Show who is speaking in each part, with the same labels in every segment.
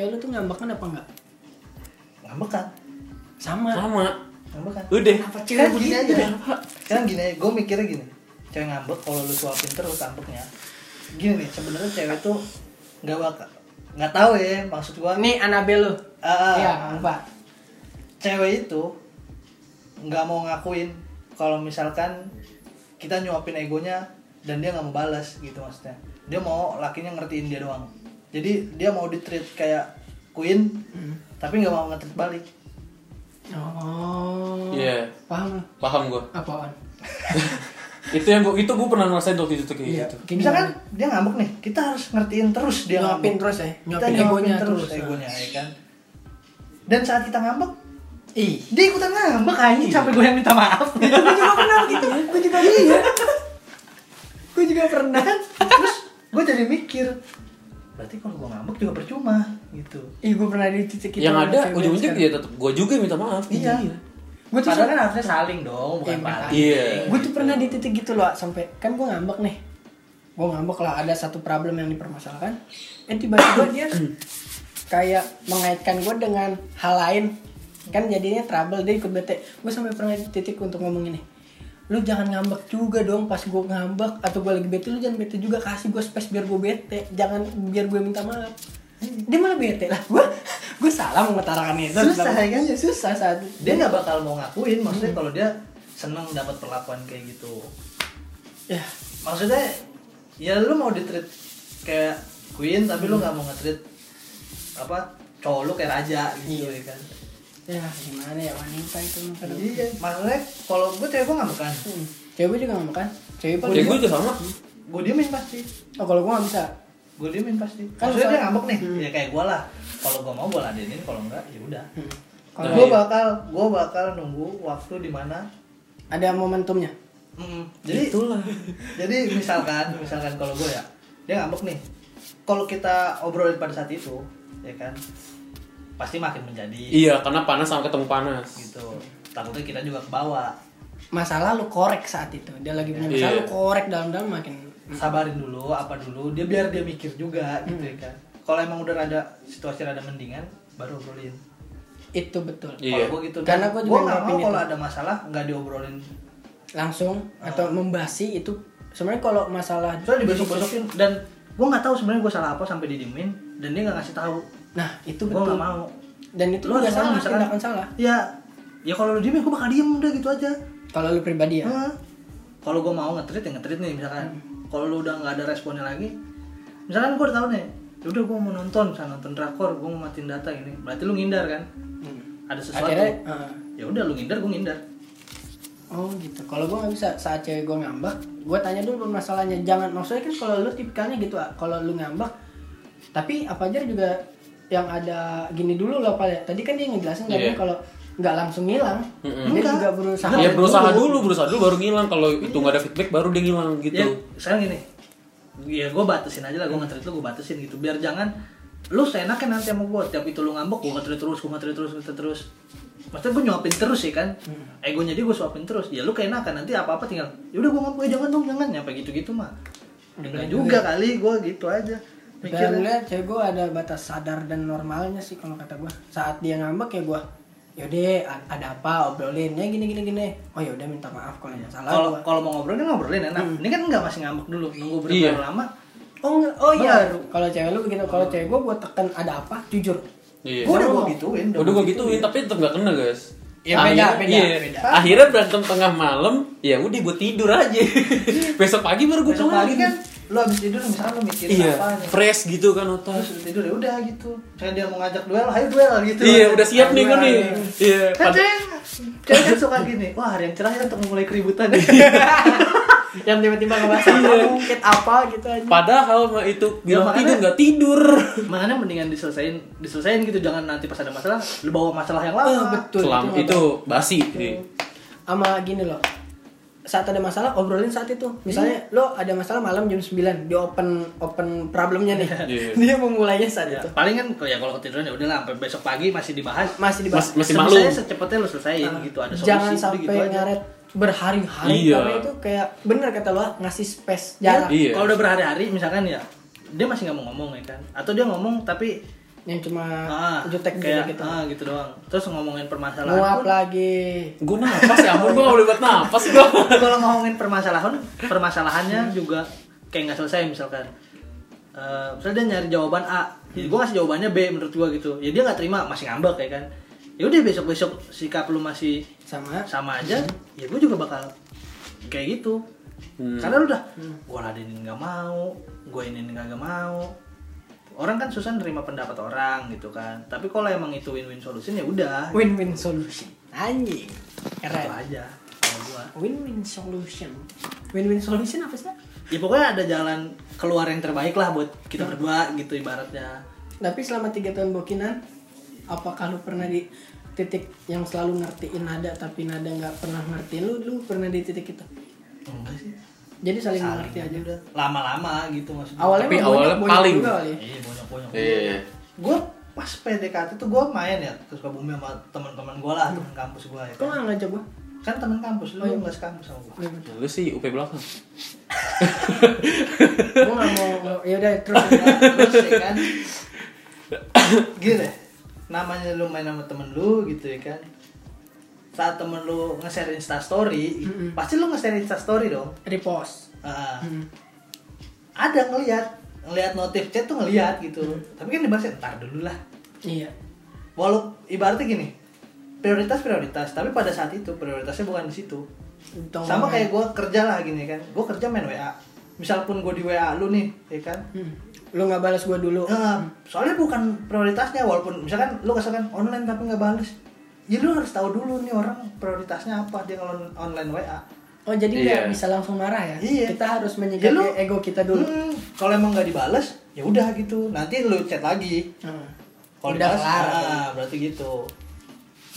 Speaker 1: ngambekan apa enggak?
Speaker 2: ngambekan
Speaker 1: Sama.
Speaker 3: sama
Speaker 2: ngambekan
Speaker 3: udah
Speaker 1: Apa
Speaker 2: kan
Speaker 1: cewek
Speaker 2: gini
Speaker 1: begitu?
Speaker 2: aja sekarang gini aja gue mikirnya gini cewek ngambek kalau lu suapin terus ngambeknya gini nih sebenarnya cewek tuh nggak bakal nggak tahu ya maksud gua
Speaker 1: Nih Anabel lu.
Speaker 2: Ah,
Speaker 1: Iya, Pak.
Speaker 2: cewek itu nggak mau ngakuin kalau misalkan kita nyuapin egonya dan dia nggak mau balas gitu maksudnya dia mau lakinya ngertiin dia doang jadi dia mau di treat kayak queen tapi nggak mau ngetreat balik
Speaker 1: Oh.
Speaker 3: Iya.
Speaker 1: Paham lu?
Speaker 3: paham gue
Speaker 1: Apaan?
Speaker 3: itu yang gue itu gue pernah ngerasain waktu itu kayak
Speaker 2: Iya.
Speaker 3: gitu
Speaker 1: Gini
Speaker 2: misalkan dia ngambek nih kita harus ngertiin terus dia
Speaker 1: nyuapin
Speaker 2: ngambek
Speaker 1: terus ya,
Speaker 2: kita
Speaker 1: nyuapin
Speaker 2: nyuapin
Speaker 1: egonya
Speaker 2: terus,
Speaker 1: terus.
Speaker 2: egonya ya kan dan saat kita ngambek
Speaker 1: Ih,
Speaker 2: dia ikutan ngambek aja sampai gue yang minta maaf
Speaker 1: gue juga pernah gitu. Gue juga iya. Gue juga pernah.
Speaker 2: terus gue jadi mikir berarti kalau gue ngambek juga percuma gitu
Speaker 1: Ih, gue pernah dicicik
Speaker 3: yang ada iya. ujung-ujungnya dia tetap gue juga yang minta maaf
Speaker 2: Iya.
Speaker 1: Gue tuh
Speaker 2: padahal kan harusnya saling dong bukan
Speaker 1: Iya,
Speaker 2: paling
Speaker 3: iya
Speaker 1: gue tuh pernah di titik gitu loh sampai kan gue ngambek nih gue ngambek lah ada satu problem yang dipermasalahkan eh tiba-tiba dia kayak mengaitkan gue dengan hal lain kan jadinya trouble dia ikut bete gue sampai pernah di titik untuk ngomong ini lu jangan ngambek juga dong pas gue ngambek atau gue lagi bete lu jangan bete juga kasih gue space biar gue bete jangan biar gue minta maaf dia malah bete lah gue gue salah mengutarakan itu
Speaker 2: Susah, ya kan?
Speaker 1: Iya, susah saat
Speaker 2: dia nggak bakal mau ngakuin maksudnya kalau dia seneng dapat perlakuan kayak gitu
Speaker 1: ya
Speaker 2: maksudnya ya lu mau ditreat kayak queen tapi lu nggak mau ngetreat apa cowok lu kayak raja gitu ya kan
Speaker 1: ya gimana ya wanita itu Mas. Iya. Aduh.
Speaker 2: iya maksudnya kalau gue cewek gue nggak makan
Speaker 1: Hmm. Cewek juga nggak makan. Cewek
Speaker 3: ya
Speaker 1: paling.
Speaker 3: gue juga sama
Speaker 2: gue diemin pasti
Speaker 1: Oh kalau gue nggak bisa.
Speaker 2: gue diemin pasti
Speaker 1: Kan
Speaker 2: maksudnya dia
Speaker 1: soalnya-
Speaker 2: ngambek nih
Speaker 1: Hmm.
Speaker 2: ya kayak gue lah kalau gue mau gue ladenin kalau enggak ya udah
Speaker 1: Hmm.
Speaker 2: Kalau
Speaker 3: Nah,
Speaker 2: gue
Speaker 3: iya.
Speaker 2: bakal gue bakal nunggu waktu di mana.
Speaker 1: Ada momentumnya.
Speaker 2: Mm, jadi
Speaker 3: itulah
Speaker 2: jadi misalkan misalkan kalau gue ya dia ngambek nih. Kalau kita obrolin pada saat itu, ya kan pasti makin menjadi
Speaker 3: iya karena panas sama ketemu panas
Speaker 2: gitu. Takutnya kita juga ke bawah.
Speaker 1: Masalah lu korek saat itu. Dia lagi punya masalah
Speaker 3: Iya.
Speaker 1: lu korek dalam-dalam makin.
Speaker 2: Sabarin dulu apa dulu, dia biar dia mikir juga gitu ya kan. Kalau emang udah rada situasi rada mendingan baru obrolin.
Speaker 1: Itu betul.
Speaker 3: Iya.
Speaker 2: Kalau gue gitu,
Speaker 1: Karena
Speaker 2: Dan
Speaker 1: gue juga
Speaker 2: gua nggak
Speaker 1: ngerapin
Speaker 2: mau kalau
Speaker 1: itu.
Speaker 2: ada masalah nggak diobrolin.
Speaker 1: Langsung atau membasi itu sebenarnya kalau masalah
Speaker 2: Ah. Soalnya dibesok-besokin dan gue nggak tahu sebenarnya gue salah apa sampai didiemin dan dia nggak ngasih tahu.
Speaker 1: Nah, itu
Speaker 2: Gue
Speaker 1: betul.
Speaker 2: nggak mau.
Speaker 1: Dan itu
Speaker 2: Lu
Speaker 1: juga
Speaker 2: harus
Speaker 1: salah,
Speaker 2: ngomong, misalkan-
Speaker 1: tindakan salah.
Speaker 2: Ya, ya kalau lu diem ya gue bakal diem udah gitu aja.
Speaker 1: Kalau lu pribadi ya.
Speaker 2: Nah, kalau gue mau ngetrit ya ngetrit nih misalkan. Kalau lu udah nggak ada responnya lagi, misalkan gue udah tahu nih, ya udah gue mau nonton, misalkan nonton drakor, gue mau matiin data gini. Berarti lu ngindar kan?
Speaker 1: Hmm.
Speaker 2: Ada sesuatu.
Speaker 1: Akhirnya eh,
Speaker 2: Ya udah lu ngindar, gue ngindar.
Speaker 1: Oh gitu. Kalau gue nggak bisa saat cewek gue ngambek, gue tanya dulu masalahnya. Jangan maksudnya kan kalau lu tipikalnya gitu, ah, kalau lu ngambek, tapi apa aja juga yang ada gini dulu loh pak. Tadi kan dia ngejelasin yeah.
Speaker 3: Iya.
Speaker 1: kalau nggak langsung ngilang, dia
Speaker 3: Mm-mm.
Speaker 2: Enggak.
Speaker 1: juga berusaha.
Speaker 3: ya berusaha dulu berusaha dulu baru ngilang kalau itu nggak ada feedback baru dia ngilang
Speaker 2: Ya,
Speaker 3: gitu
Speaker 2: sekarang gini. Ya gue batasin aja lah, gue ngetrit lu gue batasin gitu. Biar jangan lu seenaknya nanti sama gue tiap itu lu ngambek gue ngetrit terus gue ngetrit terus ngetrit terus maksudnya gue nyuapin terus sih kan egonya dia gue suapin terus ya lu keenakan nanti apa apa tinggal yaudah gue ngambek "Eh, jangan dong jangan nyampe gitu gitu mah enggak juga kali gue gitu aja
Speaker 1: Dan
Speaker 2: mikirnya
Speaker 1: lihat cewek gue ada batas sadar dan normalnya sih kalau kata gue. Saat dia ngambek ya gue, yaudah a- ada apa obrolin ya gini gini gini. Oh yaudah minta maaf kalau ada salah.
Speaker 2: kalau
Speaker 1: gua.
Speaker 2: kalau mau ngobrol kan ngobrolin enak ini kan enggak masih ngambek dulu nunggu berapa
Speaker 3: Iya.
Speaker 2: lama
Speaker 1: Oh, enggak. oh iya,
Speaker 2: Baru.
Speaker 1: kalau cewek lu begitu, kalau cewek gue gue tekan ada apa, jujur.
Speaker 3: iya
Speaker 2: gue udah
Speaker 1: Baru
Speaker 2: gue
Speaker 1: mau.
Speaker 2: gituin
Speaker 3: udah gue
Speaker 2: gitu,
Speaker 3: gituin
Speaker 2: iya.
Speaker 3: tapi tetap nggak kena guys
Speaker 1: Ya, beda,
Speaker 3: Akhirnya-
Speaker 1: beda,
Speaker 3: iya.
Speaker 1: beda.
Speaker 3: akhirnya berantem tengah malam ya udah gue tidur aja besok pagi baru gue
Speaker 2: besok pagi
Speaker 3: kemarin
Speaker 2: kan lu habis tidur misalnya lu mikirin
Speaker 3: iya
Speaker 2: apa nih
Speaker 3: fresh gitu kan otak
Speaker 2: terus
Speaker 1: Hmm.
Speaker 2: udah tidur ya udah gitu misalnya dia mau ngajak duel ayo duel gitu
Speaker 3: iya udah siap nih gue nih iya
Speaker 2: kan
Speaker 3: pad-
Speaker 2: cewek cewek kan suka gini wah hari yang cerah ya untuk memulai keributan
Speaker 1: yang tiba-tiba ngebahas
Speaker 3: Iya.
Speaker 1: apa mungkin apa gitu aja
Speaker 3: padahal mah itu bilang
Speaker 2: makanya-
Speaker 3: tidur nggak tidur
Speaker 2: makanya mendingan diselesain diselesain gitu jangan nanti pas ada masalah lu bawa masalah yang
Speaker 1: Eh,
Speaker 2: lama
Speaker 1: betul
Speaker 3: selam
Speaker 1: nggak
Speaker 3: itu
Speaker 1: apa-apa.
Speaker 3: basi iya.
Speaker 1: sama gini loh saat ada masalah obrolin saat itu misalnya
Speaker 3: Hmm.
Speaker 1: lo ada masalah malam jam 9 di open open problemnya nih
Speaker 3: Iya.
Speaker 1: dia memulainya saat
Speaker 2: Ya,
Speaker 1: itu
Speaker 2: paling kan kalau- ya kalau ketiduran ya udah lah sampai besok pagi masih dibahas
Speaker 1: masih dibahas Ah.
Speaker 3: Mas- masih
Speaker 2: Sebisanya
Speaker 3: maklum.
Speaker 2: secepatnya lu selesain gitu ada solusi
Speaker 1: jangan
Speaker 2: udah
Speaker 1: sampai
Speaker 2: gitu aja.
Speaker 1: ngaret berhari-hari
Speaker 3: Iya.
Speaker 1: karena itu kayak bener kata lo ngasih space
Speaker 2: Ya,
Speaker 1: jarak
Speaker 3: Iya.
Speaker 2: kalau udah berhari-hari misalkan ya dia masih nggak mau ngomong ya kan atau dia ngomong tapi
Speaker 1: yang cuma
Speaker 2: Ah,
Speaker 1: jutek
Speaker 2: kayak,
Speaker 1: gitu
Speaker 2: ah, gitu doang. Terus ngomongin permasalahan
Speaker 1: nguap
Speaker 2: pun,
Speaker 1: lagi
Speaker 3: Gue napas ya ampun gue gak boleh buat napas gue.
Speaker 2: kalau ngomongin permasalahan, permasalahannya juga kayak nggak selesai misalkan. Eh, misalnya dia nyari jawaban A, gue ngasih jawabannya B menurut gue gitu. Ya dia nggak terima, masih ngambek ya kan. Ya udah besok besok sikap lu masih
Speaker 1: sama
Speaker 2: sama aja, ya gue juga bakal kayak gitu.
Speaker 3: Hmm.
Speaker 2: Karena lu udah, gue ladenin nggak mau, gue ini nggak mau. Orang kan susah nerima pendapat orang gitu kan. Tapi kalau emang itu win-win solution ya udah.
Speaker 1: win-win solution anjing
Speaker 2: Itu
Speaker 1: keren
Speaker 2: Gitu aja kalau gua.
Speaker 1: win-win solution win-win solution apa sih
Speaker 2: ya pokoknya ada jalan keluar yang terbaik lah buat kita
Speaker 1: Hmm.
Speaker 2: berdua gitu ibaratnya
Speaker 1: tapi selama tiga tahun bokinan apakah lu pernah di titik yang selalu ngertiin nada tapi nada nggak pernah ngertiin lu lu pernah di titik itu
Speaker 2: enggak sih
Speaker 1: jadi saling,
Speaker 2: Saling.
Speaker 1: mengerti aja udah
Speaker 2: lama-lama gitu maksudnya
Speaker 1: awalnya
Speaker 3: Tapi
Speaker 1: mah
Speaker 3: awalnya
Speaker 1: bonyok-bonyok
Speaker 3: paling.
Speaker 1: juga kali ya.
Speaker 2: iya banyak banyak
Speaker 3: Iya.
Speaker 2: gue pas PDKT tuh gue main ya ke Sukabumi sama teman-teman gue lah teman kampus gue ya
Speaker 1: kok Oh, iya.
Speaker 2: kan,
Speaker 1: nggak ngajak gua
Speaker 2: kan teman kampus lu nggak sekampus sama gue
Speaker 3: Ya, Lu sih UP belakang.
Speaker 1: gua nggak mau ya udah terus
Speaker 2: terus ya kan gini deh namanya lu main sama temen lu gitu ya kan saat temen lu nge-share instastory
Speaker 1: Mm-mm.
Speaker 2: pasti lu nge-share instastory dong
Speaker 1: repost
Speaker 2: Ah.
Speaker 1: Hmm.
Speaker 2: ada ngelihat ngelihat notif chat tuh ngelihat gitu tapi kan dibahas ntar dulu lah
Speaker 1: iya
Speaker 2: walau ibaratnya gini prioritas prioritas tapi pada saat itu prioritasnya bukan di situ
Speaker 1: Untung
Speaker 2: sama
Speaker 1: banget.
Speaker 2: kayak gue kerja lah gini kan gue kerja main wa misal pun gue di wa lu nih ya kan
Speaker 1: Hmm. lu nggak balas gua dulu Hmm.
Speaker 2: Eh, soalnya bukan prioritasnya walaupun misalkan lu kesalkan online tapi nggak bales jadi lu harus tahu dulu nih orang prioritasnya apa dia kalau online wa
Speaker 1: oh jadi nggak
Speaker 3: Iya.
Speaker 1: bisa langsung marah ya
Speaker 2: Iya.
Speaker 1: kita harus
Speaker 2: Ya
Speaker 1: menyikapi
Speaker 2: lu-
Speaker 1: ego kita dulu
Speaker 2: Hmm, kalau emang nggak dibales ya udah gitu nanti lu chat lagi
Speaker 1: Hmm.
Speaker 2: kalau
Speaker 1: udah
Speaker 2: dibales
Speaker 1: kelar
Speaker 2: ah, berarti gitu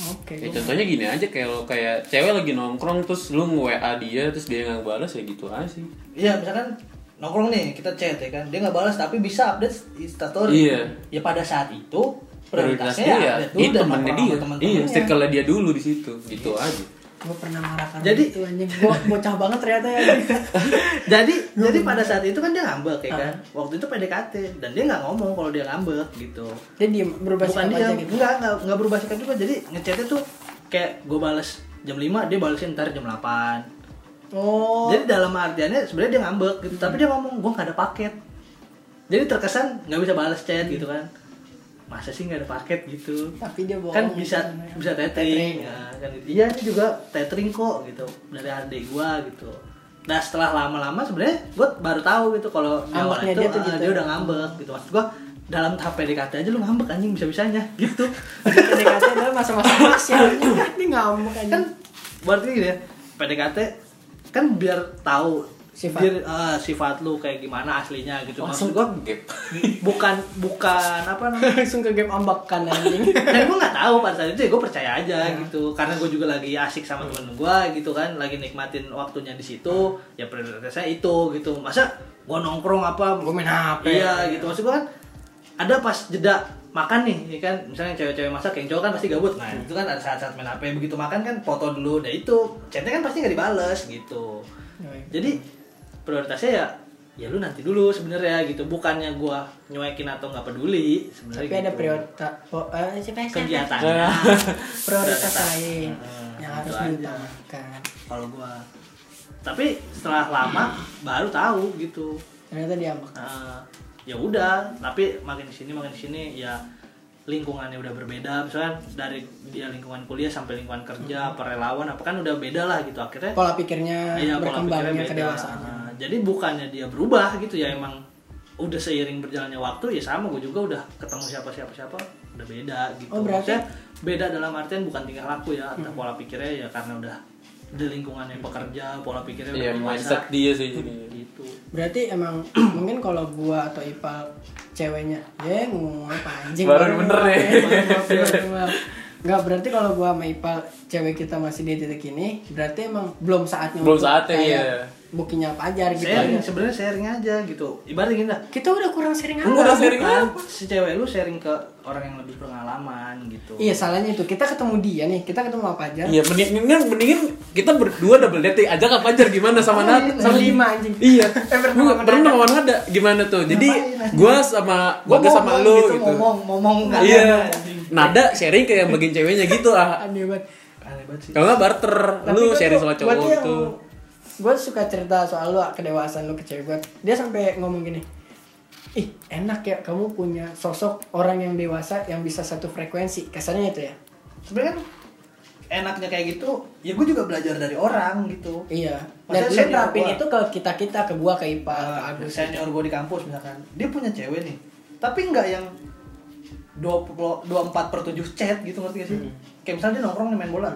Speaker 1: oke
Speaker 3: Ya,
Speaker 1: gua-
Speaker 3: contohnya gini aja kayak lo kayak cewek lagi nongkrong terus lu nge-WA dia terus dia nggak balas ya gitu aja sih.
Speaker 2: iya misalkan nongkrong nih kita chat ya kan dia nggak balas tapi bisa update instastory
Speaker 3: Iya.
Speaker 2: ya pada saat itu prioritasnya
Speaker 3: Prioritasnya ya
Speaker 2: update dulu
Speaker 3: itu
Speaker 2: dan
Speaker 3: temennya
Speaker 2: nongkrong
Speaker 3: dia.
Speaker 2: sama
Speaker 3: Iya,
Speaker 2: temen-temennya.
Speaker 3: circle dia dulu di situ. Gitu aja.
Speaker 1: gue pernah marah karena
Speaker 2: Jadi-
Speaker 1: itu anjing gue bocah banget ternyata ya
Speaker 2: jadi jadi pada saat itu kan dia ngambek ya kan waktu itu PDKT dan dia nggak ngomong kalau dia ngambek gitu
Speaker 1: dia diem berubah
Speaker 2: bukan
Speaker 1: sikap
Speaker 2: dia
Speaker 1: aja gitu
Speaker 2: nggak nggak nggak berubah sikap juga jadi ngechatnya tuh kayak gue balas jam 5 dia balesin ntar jam 8
Speaker 1: oh
Speaker 2: Jadi dalam artiannya sebenarnya dia ngambek gitu, tapi dia ngomong gua nggak ada paket. Jadi terkesan nggak bisa balas chat gitu kan. Masa sih nggak ada paket gitu?
Speaker 1: tapi dia bohong
Speaker 2: Kan bisa
Speaker 1: gitu.
Speaker 2: bisa tethering, ya, kan gitu. Iya ini juga tethering kok gitu dari adik gua gitu. Nah setelah lama-lama sebenarnya gua baru tahu gitu kalau di awal
Speaker 1: Ngambeknya
Speaker 2: itu
Speaker 1: dia tuh
Speaker 2: ah,
Speaker 1: gitu.
Speaker 2: dia udah ngambek gitu. Maksud gua dalam tahap PDKT aja lu ngambek anjing bisa-bisanya gitu.
Speaker 1: PDKT adalah masa-masa emas ya ini ngambek aja
Speaker 2: kan berarti gini ya PDKT kan biar tahu
Speaker 1: Sifat.
Speaker 2: biar, eh, sifat lu kayak gimana aslinya gitu
Speaker 3: Langsung
Speaker 2: maksud gua
Speaker 3: gue gap.
Speaker 2: bukan bukan apa namanya
Speaker 1: langsung ke game ambakan anjing
Speaker 2: dan gue nggak tahu pada saat itu ya gue percaya aja
Speaker 1: Iya.
Speaker 2: gitu karena gue juga lagi asik sama temen gue gitu kan lagi nikmatin waktunya di situ ya prioritasnya itu gitu masa gue nongkrong apa
Speaker 1: gue main HP
Speaker 2: iya gitu maksud gue kan ada pas jeda makan nih ya kan misalnya cewek-cewek masak yang cowok kan pasti gabut nah itu kan ada saat-saat main HP begitu makan kan foto dulu nah itu chatnya kan pasti nggak dibales gitu jadi prioritasnya ya ya lu nanti dulu sebenarnya gitu bukannya gua nyuekin atau nggak peduli sebenarnya
Speaker 1: tapi ada
Speaker 2: gitu.
Speaker 1: prioritas po- eh, siapa yang-
Speaker 2: kegiatan
Speaker 1: prioritas lain
Speaker 2: Heeh,
Speaker 1: yang
Speaker 2: gitu
Speaker 1: harus
Speaker 2: aja.
Speaker 1: diutamakan
Speaker 2: kalau gua tapi setelah lama baru tahu gitu
Speaker 1: ternyata dia ambek
Speaker 2: Nah, ya udah tapi makin di sini makin di sini ya lingkungannya udah berbeda misalnya dari dia lingkungan kuliah sampai lingkungan
Speaker 1: Hmm.
Speaker 2: kerja apa relawan apa kan udah beda lah gitu akhirnya
Speaker 1: pola pikirnya
Speaker 2: Iya, pola
Speaker 1: Oh, ya, berkembangnya
Speaker 2: pikirnya beda.
Speaker 1: kedewasaannya
Speaker 2: Nah, jadi bukannya dia berubah gitu ya emang udah seiring berjalannya waktu ya sama gue juga udah ketemu siapa siapa siapa udah beda gitu.
Speaker 1: Oh, berarti- Hmm.
Speaker 2: Maksudnya beda dalam artian bukan tingkah laku ya, atau pola pikirnya ya karena udah di lingkungannya pekerja, pola pikirnya udah
Speaker 3: Iya,
Speaker 2: dewasa
Speaker 3: mindset dia sih jadi.
Speaker 2: gitu.
Speaker 1: berarti emang mungkin kalau gua atau Ipal ceweknya ya ngomong apa anjing
Speaker 3: Baru bener ya." deh.
Speaker 1: Enggak berarti kalau gua sama Ipal cewek kita masih di titik ini berarti emang belum saatnya
Speaker 3: Belum
Speaker 1: untuk
Speaker 3: saatnya,
Speaker 1: kayak
Speaker 3: iya.
Speaker 1: bukinya Pajar gitu
Speaker 2: sharing
Speaker 1: aja.
Speaker 2: sebenarnya sharing aja gitu ibaratnya gini dah
Speaker 1: Kita udah kurang sering
Speaker 3: Lu udah
Speaker 1: apa?
Speaker 3: Ya, sharing
Speaker 2: kan
Speaker 3: apa?
Speaker 2: si cewek lu sharing ke orang yang lebih berpengalaman gitu
Speaker 1: Iya salahnya itu kita ketemu dia nih kita ketemu apa aja
Speaker 3: Iya, mendingan mendingan kita berdua double dating aja Kak Fajar gimana
Speaker 1: Oh,
Speaker 3: sama Nat
Speaker 1: iya,
Speaker 3: sama
Speaker 1: berlima, anjing.
Speaker 3: Iya.
Speaker 1: Eh, berdua
Speaker 3: Gua
Speaker 1: sama
Speaker 3: pernah
Speaker 1: Nada.
Speaker 3: sama Nada gimana tuh? Jadi
Speaker 1: Ngapain, anjing?
Speaker 3: gua sama
Speaker 1: Gua
Speaker 3: Bagas sama
Speaker 1: ngomong
Speaker 3: lu
Speaker 1: gitu,
Speaker 3: gitu.
Speaker 1: ngomong ngomong nggak ada.
Speaker 3: Iya. Nada sharing ke yang bagian ceweknya gitu ah.
Speaker 1: Aneh banget.
Speaker 2: aneh banget sih
Speaker 3: Kalau nggak barter, lu
Speaker 1: kan
Speaker 3: sharing soal cowok gitu.
Speaker 1: Gue suka cerita soal lu kedewasaan lu ke cewek gue. Dia sampai ngomong gini. Ih enak ya kamu punya sosok orang yang dewasa yang bisa satu frekuensi. Kasarnya itu ya.
Speaker 2: sebenarnya kan enaknya kayak gitu ya gue juga belajar dari orang gitu
Speaker 1: Iya. Dan
Speaker 2: Maksudnya
Speaker 1: dia
Speaker 2: senior
Speaker 1: nerapin
Speaker 2: gua.
Speaker 1: itu ke kita kita ke gua ke Ipa ke
Speaker 2: Ah,
Speaker 1: Agus.
Speaker 2: senior gue di kampus misalkan dia punya cewek nih tapi nggak yang 20, 24 per 7 chat gitu ngerti gak sih kayak misalnya dia nongkrong nih main bola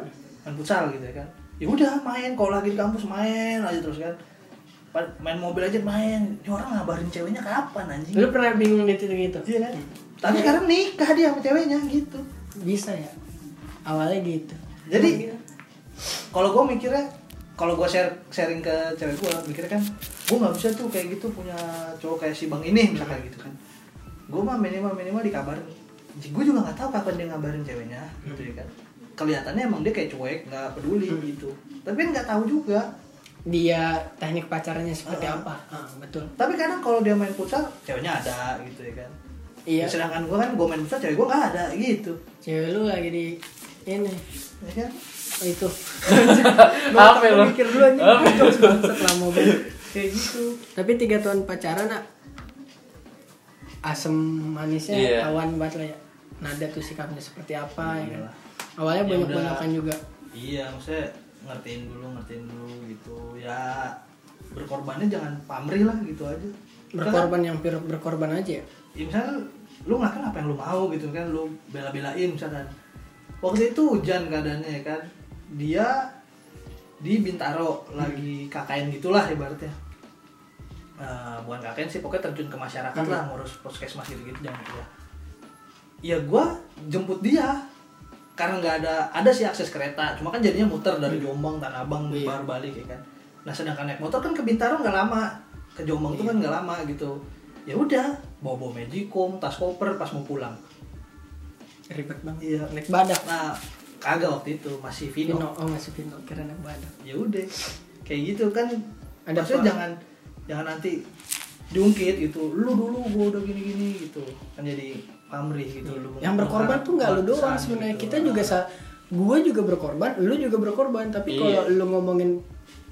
Speaker 2: main futsal gitu ya kan ya udah main kalau lagi di kampus main aja terus kan Pa- main mobil aja main ini orang ngabarin ceweknya kapan anjing
Speaker 1: Lu pernah bingung di titik itu?
Speaker 2: iya kan tapi sekarang nikah dia sama ceweknya gitu
Speaker 1: Bisa ya. Awalnya gitu.
Speaker 2: jadi kalau gue mikirnya kalau gue share sharing ke cewek gue mikirnya kan gue nggak bisa tuh kayak gitu punya cowok kayak si bang ini misalkan gitu kan gue mah minimal minimal dikabarin gue juga nggak tahu kapan dia ngabarin ceweknya gitu ya kan kelihatannya emang dia kayak cuek nggak peduli gitu tapi kan nggak tahu juga
Speaker 1: dia teknik pacarannya seperti
Speaker 2: Ah.
Speaker 1: apa? Ah, betul.
Speaker 2: tapi kadang kalau dia main futsal ceweknya ada gitu ya kan
Speaker 1: Iya.
Speaker 2: sedangkan gue kan gue main futsal cewek gue nggak ada gitu
Speaker 1: Cewek lu lagi di ini
Speaker 2: ya kan
Speaker 1: Oh, itu
Speaker 3: Apa lu?
Speaker 1: mikir dulu anjing.
Speaker 3: Apa?
Speaker 1: Jokes bangsat lama banget.
Speaker 2: kayak gitu
Speaker 1: tapi tiga tahun pacaran nak asem manisnya
Speaker 3: Iya.
Speaker 1: awan banget lah ya nada tuh sikapnya seperti apa ya kan?
Speaker 2: Iyalah.
Speaker 1: awalnya
Speaker 2: Ya
Speaker 1: banyak
Speaker 2: udah.
Speaker 1: banyakan juga
Speaker 2: Iya, maksudnya ngertiin dulu, ngertiin dulu gitu. Ya berkorbannya jangan pamrih lah gitu aja. Misalkan-
Speaker 1: berkorban yang pir- berkorban aja ya
Speaker 2: Ya, misalnya lu ngelakuin apa yang lu mau gitu kan, lu bela-belain misalkan. Waktu itu hujan keadaannya ya kan. Dia di Bintaro lagi KKN gitulah ibaratnya. Eh, bukan KKN sih, pokoknya terjun ke masyarakat
Speaker 1: Hmm.
Speaker 2: lah ngurus puskesmas gitu gitu jangan gitu ya. Ya gua jemput dia karena nggak ada ada sih akses kereta, cuma kan jadinya muter dari Jombang Tanah Abang
Speaker 1: Iya.
Speaker 2: baru balik ya kan. Nah sedangkan naik motor kan ke Bintaro nggak lama, ke Jombang tuh kan
Speaker 1: Iya.
Speaker 2: nggak lama gitu. Ya udah bawa bawa magicom, tas koper pas mau pulang.
Speaker 1: ribet banget
Speaker 2: Iya.
Speaker 1: naik badak
Speaker 2: Nah kagak waktu itu masih Vino.
Speaker 1: Pino, oh masih Pino, kira naik badak
Speaker 2: ya udah kayak gitu kan
Speaker 1: Ada
Speaker 2: maksudnya
Speaker 1: apa?
Speaker 2: jangan jangan nanti diungkit gitu lu dulu gua udah gini gini gitu kan jadi pamrih gitu lu
Speaker 1: yang berkorban tuh nggak lu doang
Speaker 2: Paksaan
Speaker 1: sebenarnya
Speaker 2: gitu.
Speaker 1: kita juga sa gue juga berkorban lu juga berkorban tapi
Speaker 3: Iya.
Speaker 1: kalau lu ngomongin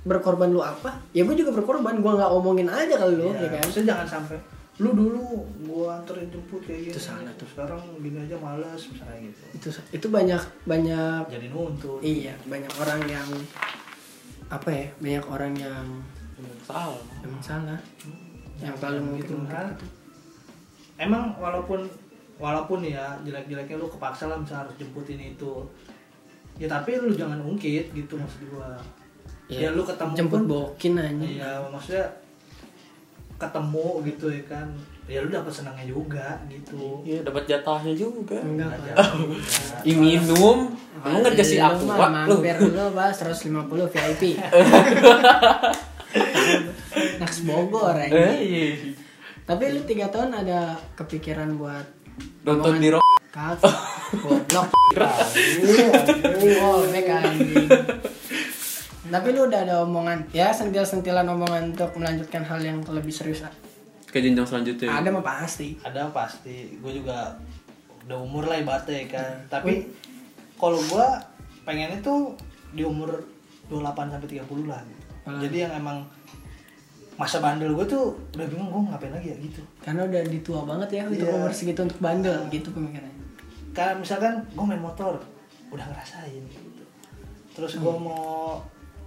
Speaker 1: berkorban lu apa ya gue juga berkorban gue nggak omongin aja kalau lu ya
Speaker 2: Iya,
Speaker 1: kan
Speaker 2: maksudnya jangan sampai lu dulu gua anterin jemput kayak
Speaker 1: Itu
Speaker 2: gitu
Speaker 1: salah tuh.
Speaker 2: sekarang gini aja males misalnya gitu
Speaker 1: itu itu banyak banyak
Speaker 2: jadi nuntut
Speaker 1: Iya, banyak orang yang apa ya? Banyak orang yang
Speaker 3: Salah.
Speaker 1: emang salah, yang
Speaker 2: Jangan
Speaker 1: terlalu
Speaker 2: gitu
Speaker 1: mungkin
Speaker 2: kan. emang walaupun walaupun ya jelek-jeleknya lu kepaksa lah misalnya harus jemput ini itu ya tapi lu jangan ungkit gitu maksud gua ya, lu ketemu
Speaker 1: Iya, jemput
Speaker 2: pun-
Speaker 1: bokin aja.
Speaker 2: Iya, maksudnya ketemu gitu ya kan. Ya lu dapat senangnya juga gitu.
Speaker 3: Iya, dapat jatahnya juga.
Speaker 1: Enggak
Speaker 2: Aja.
Speaker 1: Pak.
Speaker 3: Ih minum, kamu nggak dikasih
Speaker 1: Lu
Speaker 3: aku,
Speaker 1: mah
Speaker 3: Wak, lu. Eh?
Speaker 1: Mampir lu bah 150 VIP. Naks Bogor
Speaker 3: Eh,
Speaker 1: aja.
Speaker 3: iya.
Speaker 1: Tapi lu 3 tahun ada kepikiran buat
Speaker 3: Nonton
Speaker 1: omongan-
Speaker 3: di rock.
Speaker 1: Kagak. Goblok. Oh, back anjing. Tapi lu udah ada omongan ya sentil-sentilan omongan untuk melanjutkan hal yang lebih serius. A.
Speaker 3: Ke jenjang selanjutnya.
Speaker 1: Ada mah pasti.
Speaker 2: Ada pasti. Gue juga udah umur lah ibaratnya ya kan. Tapi kalau gua pengennya tuh di umur 28 sampai 30 lah gitu.
Speaker 1: Hmm.
Speaker 2: Jadi yang emang masa bandel gue tuh udah bingung gue ngapain lagi ya gitu.
Speaker 1: Karena udah ditua banget ya untuk
Speaker 2: Iya.
Speaker 1: umur segitu untuk bandel gitu pemikirannya.
Speaker 2: Kayak misalkan gue main motor udah ngerasain gitu. Terus gue
Speaker 1: Hmm.
Speaker 2: mau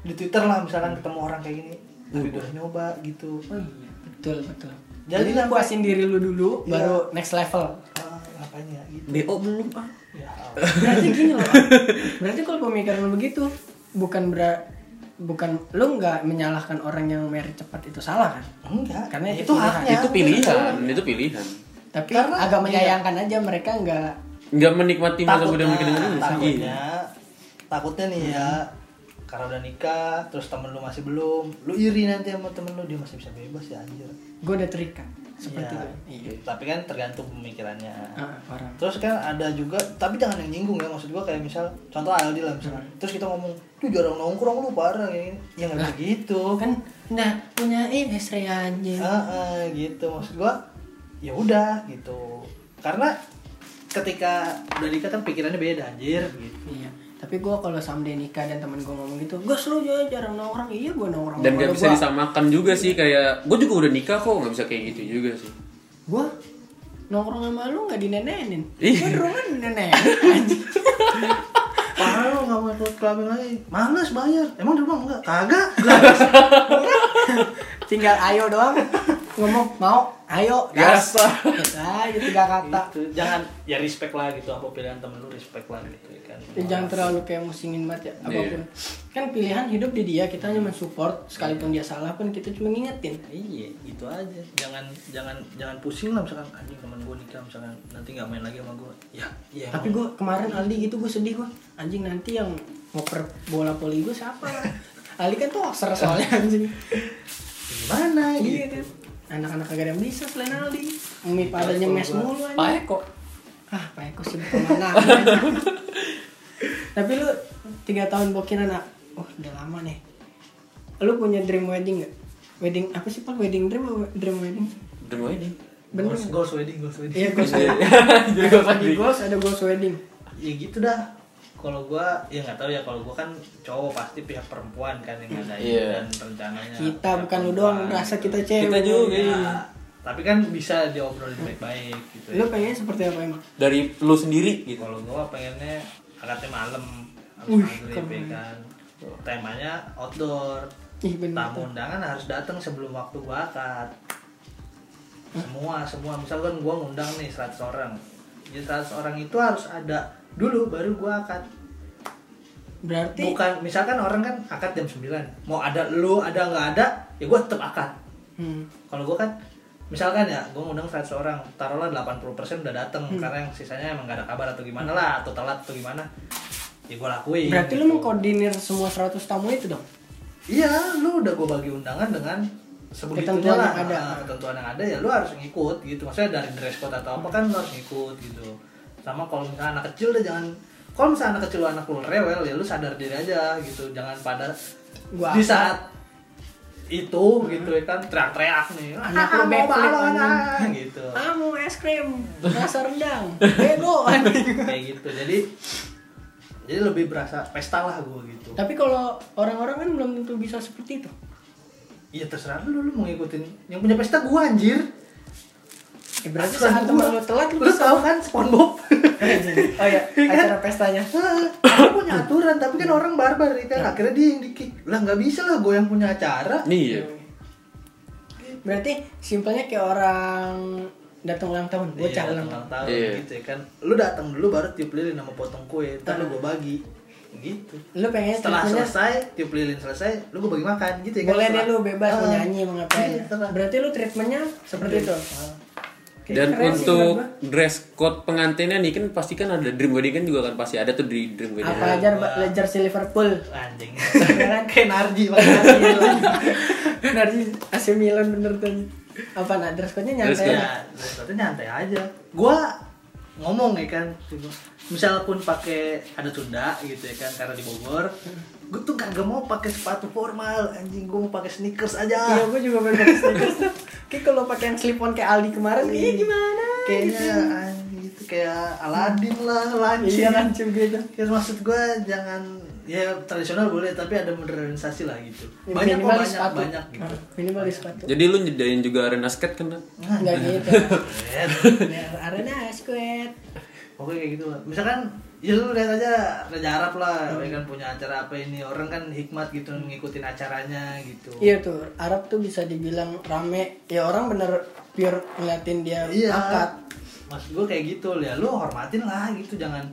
Speaker 2: di Twitter lah misalkan ketemu orang kayak gini, tapi
Speaker 1: Hmm.
Speaker 2: gue nyoba gitu.
Speaker 1: Oh iya, betul betul.
Speaker 2: Jadi
Speaker 1: Jadi, lu
Speaker 2: sampai-
Speaker 1: puasin diri lu dulu
Speaker 2: Iya.
Speaker 1: baru next level.
Speaker 2: Ah, ngapain ya gitu.
Speaker 3: BO belum ah.
Speaker 2: Ya,
Speaker 1: Berarti gini loh. Berarti kalau pemikiran lu begitu bukan ber bukan lu nggak menyalahkan orang yang merit cepat itu salah kan?
Speaker 2: enggak.
Speaker 1: Karena itu
Speaker 2: itu
Speaker 1: pilihan.
Speaker 2: haknya.
Speaker 1: Ya,
Speaker 3: Itu pilihan, itu pilihan.
Speaker 1: Tapi
Speaker 2: Karena- iya.
Speaker 1: agak menyayangkan aja mereka nggak Iya,
Speaker 3: Nggak menikmati masa muda
Speaker 2: Takutnya,
Speaker 3: Iya. makin dengan dulu.
Speaker 2: takutnya, takutnya nih ya. karena udah nikah terus temen lu masih belum lu iri nanti sama temen lu dia masih bisa bebas ya anjir
Speaker 1: gue udah terikat seperti
Speaker 2: Iya.
Speaker 1: itu iya
Speaker 2: tapi kan tergantung pemikirannya
Speaker 1: ah, parah
Speaker 2: terus kan ada juga tapi jangan yang nyinggung ya maksud gua kayak misal contoh Aldi lah misalnya
Speaker 1: Hmm.
Speaker 2: terus kita ngomong tuh jarang nongkrong lu parah ya ya nggak bisa gitu
Speaker 1: kan iya. nah punya ini istri anjing
Speaker 2: Ah, ah, gitu maksud gua ya udah gitu karena ketika udah nikah kan pikirannya beda anjir gitu
Speaker 1: iya tapi gue kalau sampai nikah dan temen gue ngomong gitu gue lu ya jarang nongkrong iya gue nongkrong
Speaker 3: dan gak bisa disamakan juga sih kayak gue juga udah nikah kok nggak bisa kayak gitu juga sih
Speaker 1: gue nongkrong sama lu nggak dinenenin
Speaker 3: Ih.
Speaker 1: gue di rumah dinenenin anjing
Speaker 2: parah lu nggak mau ikut clubbing lagi males bayar emang di rumah enggak kagak
Speaker 1: tinggal ayo doang ngomong mau ayo gas
Speaker 3: Gas.
Speaker 1: gitu aja tiga kata
Speaker 2: Gitu. jangan ya respect lah gitu apa pilihan temen lu respect lah gitu ya kan
Speaker 1: Dan jangan terlalu kayak musingin banget ya apapun kan pilihan hidup di dia kita hanya mensupport sekalipun dia salah pun kita cuma ngingetin
Speaker 2: iya gitu aja jangan jangan jangan pusing lah misalkan anjing temen gue nikah misalkan nanti nggak main lagi sama gue ya iya
Speaker 1: tapi gue kemarin Aldi gitu gue sedih gue anjing nanti yang ngoper bola poli gue siapa Aldi kan tuh soalnya anjing
Speaker 2: gimana
Speaker 1: iya
Speaker 2: gitu
Speaker 1: kan anak-anak kagak ada yang bisa selain Aldi Umi pada nyemes mulu anjing
Speaker 3: Pak Eko
Speaker 1: ah Pak Eko sih kemana tapi lu tiga tahun bokin anak oh udah lama nih lu punya dream wedding nggak wedding apa sih pak wedding dream apa dream wedding
Speaker 3: dream wedding
Speaker 1: bener
Speaker 2: Goals- goals wedding goals wedding
Speaker 1: iya goals wedding
Speaker 3: Jadi gua
Speaker 1: ada
Speaker 3: tadi.
Speaker 1: goals ada goals wedding
Speaker 2: ya gitu dah kalau gua ya nggak tahu ya kalau gua kan cowok pasti pihak perempuan kan yang ngadain
Speaker 3: Iya.
Speaker 2: dan rencananya
Speaker 1: Hmm. kita
Speaker 2: pihak
Speaker 1: bukan lu doang
Speaker 2: perempuan. gitu.
Speaker 1: merasa kita cewek
Speaker 3: Kita juga,
Speaker 2: Ya,
Speaker 3: iya.
Speaker 2: tapi kan bisa diobrolin baik-baik gitu
Speaker 1: lu pengennya seperti apa emang
Speaker 3: dari lu sendiri gitu
Speaker 2: kalau gua pengennya akadnya malam habis
Speaker 1: Wih,
Speaker 2: maghrib ya
Speaker 1: keren.
Speaker 2: kan temanya outdoor
Speaker 1: ih bener
Speaker 2: tamu undangan harus datang sebelum waktu gua akad semua semua misalkan gua ngundang nih 100 orang jadi 100 orang itu harus ada dulu baru gua akad
Speaker 1: berarti
Speaker 2: bukan misalkan orang kan akad jam 9 mau ada lu ada nggak ada ya gue tetap akad
Speaker 1: hmm,
Speaker 2: kalau gue kan misalkan ya gue ngundang 100 orang taruhlah 80% udah datang
Speaker 1: Hmm.
Speaker 2: karena yang sisanya emang gak ada kabar atau gimana lah atau telat atau gimana ya gue lakuin
Speaker 1: berarti lu
Speaker 2: gitu.
Speaker 1: mengkoordinir semua 100 tamu itu dong
Speaker 2: iya lu udah gue bagi undangan dengan sebegitunya
Speaker 1: Ketentuan
Speaker 2: lah
Speaker 1: yang ada.
Speaker 2: Ah, ketentuan yang ada ya lu harus ngikut gitu maksudnya dari dress code atau apa kan lu harus ngikut gitu sama kalau misalnya anak kecil deh jangan kalau misalnya anak kecil lu anak lu rewel ya lu sadar diri aja gitu jangan pada
Speaker 1: Gua
Speaker 2: di
Speaker 1: akad.
Speaker 2: saat itu gitu ya kan teriak-teriak nih "Ah,
Speaker 1: Anak lu
Speaker 2: mau
Speaker 1: backflip,
Speaker 2: balon, ah,"
Speaker 1: anjing.
Speaker 2: gitu
Speaker 1: ah mau es krim rasa rendang bego anjing.
Speaker 2: kayak gitu jadi jadi lebih berasa pesta lah gue gitu
Speaker 1: tapi kalau orang-orang kan belum tentu bisa seperti itu
Speaker 2: iya terserah lu lu mau ngikutin yang punya pesta gue anjir
Speaker 1: Ya berarti saat temen lu telat lu
Speaker 2: Lu
Speaker 1: bisa
Speaker 2: tahu kan SpongeBob?
Speaker 1: Oh iya, acara pestanya
Speaker 2: Hah, Aku punya aturan, tapi kan orang barbar ya
Speaker 1: Iya.
Speaker 2: kan. Akhirnya dia yang dikik. Lah nggak bisa lah gue yang punya acara.
Speaker 3: nih iya
Speaker 1: Berarti simpelnya kayak orang datang ulang tahun, gue
Speaker 2: Iya,
Speaker 1: calon
Speaker 2: ulang tahun
Speaker 3: Iya.
Speaker 2: gitu ya kan. Lu datang dulu baru tiup lilin sama potong kue, ntar lu gue bagi. Gitu.
Speaker 1: Lu pengen
Speaker 2: Setelah
Speaker 1: treatmentnya
Speaker 2: selesai, tiup lilin selesai, lu gue bagi makan gitu ya kan.
Speaker 1: boleh deh
Speaker 2: Setelah-
Speaker 1: lu bebas mau
Speaker 2: Ah,
Speaker 1: nyanyi mau ngapain.
Speaker 2: iya, Ah, terserah.
Speaker 1: Berarti lu treatmentnya seperti itu. Kayak
Speaker 3: Iya. Dan
Speaker 1: keren sih
Speaker 3: untuk
Speaker 1: menurut
Speaker 3: dress code pengantinnya nih kan pasti kan ada dream wedding kan juga kan pasti ada tuh di dream
Speaker 1: gua.
Speaker 3: wedding.
Speaker 1: apa aja ba- ledger si Liverpool.
Speaker 2: Anjing.
Speaker 1: Ya kan?
Speaker 2: Kayak Narji banget.
Speaker 1: Dari AC Milan bener tuh. Apa nah dress code-nya
Speaker 3: Dress
Speaker 1: nyantai.
Speaker 3: code.
Speaker 1: lah.
Speaker 2: ya tapi nyantai aja gua ngomong ya kan misal pun pakai ada tunda gitu ya kan karena di Bogor gue tuh kagak mau pakai sepatu formal anjing gue mau pakai sneakers
Speaker 1: Iya,
Speaker 2: aja
Speaker 1: gue juga pengen pakai sneakers. Kayak kalau pakai yang slip on kayak Aldi kemarin, iya gimana?
Speaker 2: kayaknya anjing gitu kayak Aladin lah
Speaker 1: Iya
Speaker 2: lancip
Speaker 1: lancip gitu.
Speaker 2: Ya, maksud gue jangan ya tradisional boleh tapi ada modernisasi lah gitu
Speaker 1: Ya,
Speaker 2: banyak kok
Speaker 1: minimal di
Speaker 2: banyak
Speaker 1: sepatu.
Speaker 2: banyak gitu
Speaker 1: Ah, Minimal di sepatu.
Speaker 3: Jadi lu nyedain juga arena skate kan? Nat?
Speaker 2: Iya.
Speaker 1: Enggak gitu.
Speaker 2: Anjing.
Speaker 1: Biar arena squid.
Speaker 2: Pokoknya kayak gitu lah. Misalkan ya lu lihat aja Raja Arab
Speaker 1: Hmm.
Speaker 2: lah, ya kan punya acara apa ini orang kan hikmat gitu ngikutin acaranya gitu.
Speaker 1: Iya tuh, Arab tuh bisa dibilang rame. Ya orang bener pure ngeliatin dia
Speaker 2: Iya.
Speaker 1: akad.
Speaker 2: Maksud gue kayak gitu ya lu hormatin lah gitu jangan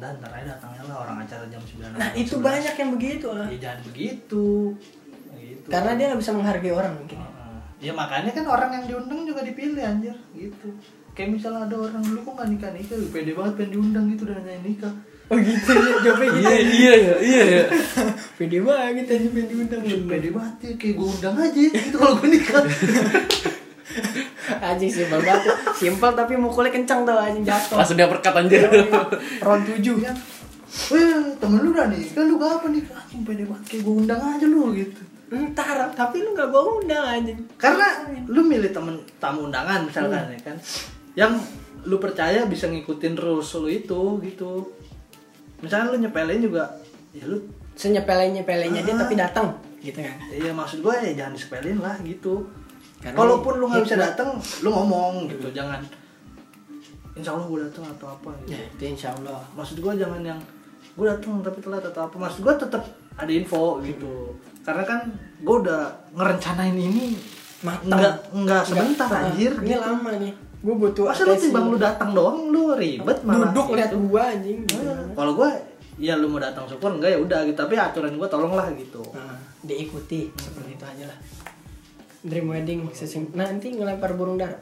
Speaker 2: dan ntar aja datangnya lah orang acara jam 9
Speaker 1: Nah
Speaker 2: jam
Speaker 1: itu
Speaker 2: 11.
Speaker 1: banyak Kan yang begitu lah.
Speaker 2: Ya jangan begitu. Gitu.
Speaker 1: Karena dia nggak bisa menghargai orang mungkin.
Speaker 2: Heeh. Ya makanya kan orang yang diundang juga dipilih anjir gitu. Kayak misalnya ada orang dulu kok gak nikah nikah, pede banget pengen diundang gitu dan nanya nikah.
Speaker 1: Oh gitu, ya, jawabnya gitu.
Speaker 3: iya iya ya iya ya.
Speaker 1: pede banget aja pengen diundang
Speaker 2: pede banget ya, kayak gue undang aja itu kalau gue nikah
Speaker 1: anjing simpel banget simpel tapi mukulnya kencang tau anjing jatuh
Speaker 3: Langsung dia perkataan
Speaker 1: Iya,
Speaker 3: aja.
Speaker 1: round tujuh
Speaker 2: ya eh temen lu udah nih kan lu kapan nih anjing pede banget kayak gue undang aja lu gitu
Speaker 1: ntar tapi lu gak gua undang anjing
Speaker 2: karena lu milih temen tamu undangan misalkan
Speaker 1: Hmm.
Speaker 2: ya kan yang lu percaya bisa ngikutin rules lu itu gitu misalnya lu nyepelin juga ya lu
Speaker 1: senyepele nyepelenya dia
Speaker 2: Ah.
Speaker 1: tapi datang gitu kan
Speaker 2: ya maksud gue ya jangan disepelin lah gitu
Speaker 1: Karena ya
Speaker 2: kalaupun lu nggak bisa
Speaker 1: hikmah.
Speaker 2: datang lu ngomong gitu jangan insya allah gue datang atau apa gitu
Speaker 1: ya itu insya Allah
Speaker 2: maksud gue jangan yang gue datang tapi telat atau apa maksud gue tetap ada info gitu karena kan gue udah ngerencanain ini
Speaker 1: Matang.
Speaker 2: nggak nggak sebentar
Speaker 1: Nggak,
Speaker 2: anjir
Speaker 1: Ah, ini
Speaker 2: gitu.
Speaker 1: lama nih gua butuh
Speaker 2: masa lu
Speaker 1: atensi.
Speaker 2: timbang lu datang doang lu ribet malah
Speaker 1: duduk
Speaker 2: gitu.
Speaker 1: lihat gua anjing gitu.
Speaker 2: Eh, kalau gue ya lu mau datang syukur enggak ya udah gitu tapi aturan gue tolonglah gitu
Speaker 1: Nah, diikuti seperti itu aja lah dream wedding sesi nanti ngelempar burung dara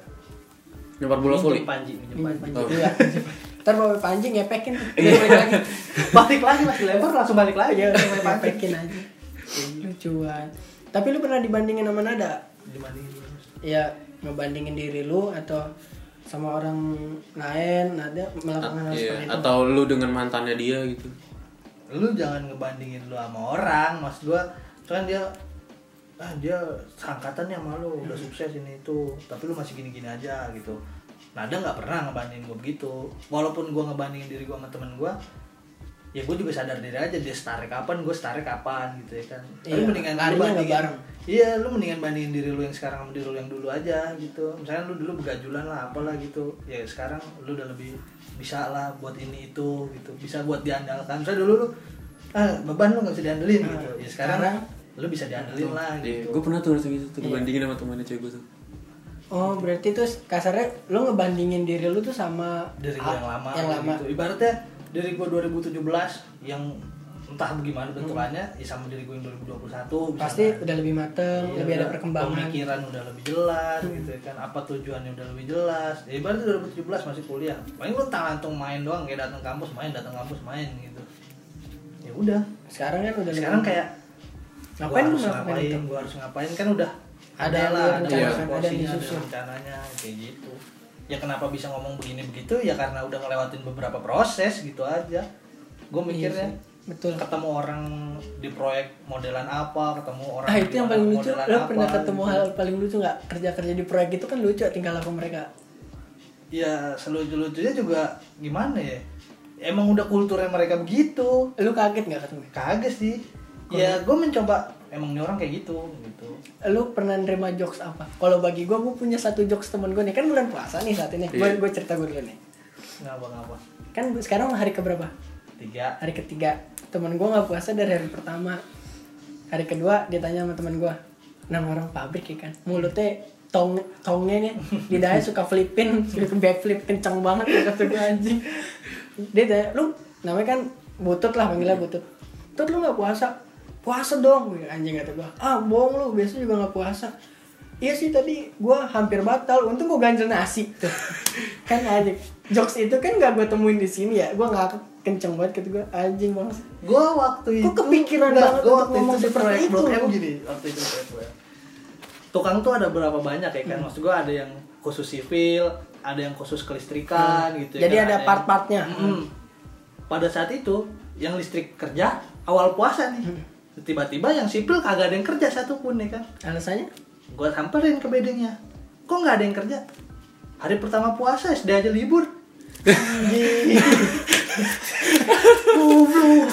Speaker 3: Nyempar bola voli.
Speaker 2: Minjem panji minjem
Speaker 1: Minjem
Speaker 2: panji
Speaker 1: panji
Speaker 3: Oh.
Speaker 1: Iya, minjem panji. ntar bawa panji ngepekin balik lagi
Speaker 2: balik lagi lagi lempar langsung balik lagi
Speaker 1: Iya,
Speaker 2: Main panji
Speaker 1: ngepekin aja lucuan tapi lu pernah dibandingin sama nada
Speaker 2: Dibandingin dulu.
Speaker 1: ya ngebandingin diri lu atau sama orang lain nada melakukan hal seperti itu
Speaker 3: Iya, atau lu dengan mantannya dia gitu.
Speaker 2: lu jangan ngebandingin lu sama orang mas gua kan dia ah dia seangkatannya sama lu udah sukses ini itu tapi lu masih gini-gini aja gitu Nada nggak pernah ngebandingin gua begitu walaupun gua ngebandingin diri gua sama temen gua ya gua juga sadar diri aja dia starek kapan gua starek kapan gitu ya kan
Speaker 1: Iya,
Speaker 2: lu mendingan
Speaker 1: larinya
Speaker 2: lu
Speaker 1: nggak
Speaker 2: bandingin
Speaker 1: bareng.
Speaker 2: iya lu mendingan bandingin diri lu yang sekarang sama diri lu yang dulu aja gitu misalnya lu dulu begajulan lah apalah gitu ya sekarang lu udah lebih bisa lah buat ini itu gitu bisa buat diandalkan misalnya dulu lu ah, beban lu nggak bisa diandelin
Speaker 1: Nah,
Speaker 2: gitu ya sekarang
Speaker 1: sekarang
Speaker 2: lu bisa diandelin lah
Speaker 1: Ah,
Speaker 3: Iya,
Speaker 2: gitu
Speaker 3: gue pernah tuh ngerasa gitu tuh dibandingin sama temannya cewek gue tuh.
Speaker 1: oh berarti tuh kasarnya lu ngebandingin diri lu tuh sama
Speaker 2: dari gua yang lama
Speaker 1: Ah, yang lama
Speaker 2: gitu. ibaratnya dari gua 2017 yang entah bagaimana bentukannya ya sama diri gua yang 2021 misalnya.
Speaker 1: pasti udah lebih mateng
Speaker 2: Iya,
Speaker 1: lebih ada
Speaker 2: udah-
Speaker 1: perkembangan
Speaker 2: pemikiran udah lebih jelas gitu ya kan apa tujuannya udah lebih jelas ya ibaratnya 2017 masih kuliah paling lu talantung main doang kayak datang kampus main datang kampus main gitu ya udah Nah,
Speaker 1: sekarang kan udah
Speaker 2: sekarang
Speaker 1: lebih-
Speaker 2: kayak
Speaker 1: Ngapain lu
Speaker 2: gua harus
Speaker 1: ngelakuin
Speaker 2: ngapain
Speaker 1: itu?
Speaker 2: gua harus ngapain kan udah
Speaker 1: Ada
Speaker 2: lah
Speaker 1: lu
Speaker 2: ada
Speaker 3: rencanakan,
Speaker 1: ada
Speaker 2: porsinya, ada
Speaker 1: disusun.
Speaker 2: rencananya kayak gitu ya kenapa bisa ngomong begini begitu ya karena udah ngelewatin beberapa proses gitu aja gue mikirnya
Speaker 1: Iya sih. Betul.
Speaker 2: ketemu orang di proyek modelan apa ketemu orang
Speaker 1: ah itu
Speaker 2: di
Speaker 1: yang
Speaker 2: mana
Speaker 1: paling lucu
Speaker 2: modelan
Speaker 1: lo
Speaker 2: apa,
Speaker 1: pernah ketemu
Speaker 2: gitu.
Speaker 1: hal paling lucu nggak kerja kerja di proyek itu kan lucu tinggal laku mereka
Speaker 2: ya selucu-lucunya juga gimana ya emang udah kulturnya mereka begitu
Speaker 1: lu kaget nggak ketemu
Speaker 2: kaget sih ya
Speaker 1: gitu?
Speaker 2: gue mencoba emang ini orang kayak gitu gitu
Speaker 1: lu pernah nerima jokes apa kalau bagi gua gua punya satu jokes temen gua nih kan bulan puasa nih saat ini gua
Speaker 3: Iya.
Speaker 1: gua cerita gua dulu nih
Speaker 2: ngapa-ngapa
Speaker 1: kan gua- sekarang hari keberapa
Speaker 2: tiga
Speaker 1: hari ketiga temen gua nggak puasa dari hari pertama hari kedua dia tanya sama temen gua enam orang pabrik ya kan mulutnya tong tongnya nih lidahnya suka flipin suka backflip kenceng banget ya kata gua anjing dia tanya lu namanya kan butut lah panggilnya butut tut lu nggak puasa puasa dong Gua bilang, anjing kata gua ah bohong lu biasa juga nggak puasa Iya sih tadi gua hampir batal, untung gua ganjel nasi tuh. kan anjing, jokes itu kan gak gua temuin di sini ya, gua nggak kenceng banget gitu gua anjing banget.
Speaker 2: gue waktu itu
Speaker 1: Kok kepikiran
Speaker 2: enggak,
Speaker 1: banget
Speaker 2: gua
Speaker 1: untuk
Speaker 2: waktu
Speaker 1: ngomong
Speaker 2: itu di
Speaker 1: seperti
Speaker 2: proyek
Speaker 1: itu?
Speaker 2: Blok M gini waktu itu di proyek gue. tukang tuh ada berapa banyak ya kan
Speaker 1: Hmm.
Speaker 2: maksud gue ada yang khusus sipil ada yang khusus kelistrikan
Speaker 1: Hmm.
Speaker 2: gitu ya
Speaker 1: Jadi
Speaker 2: kan,
Speaker 1: ada
Speaker 2: yang-
Speaker 1: part-partnya. Hmm.
Speaker 2: Mm-mm. Hmm. pada saat itu yang listrik kerja awal puasa nih tiba-tiba yang sipil kagak ada yang kerja satupun ya kan
Speaker 1: Alasannya?
Speaker 2: gue samperin ke bedengnya kok nggak ada yang kerja hari pertama puasa SD aja libur Anjing. Goblok.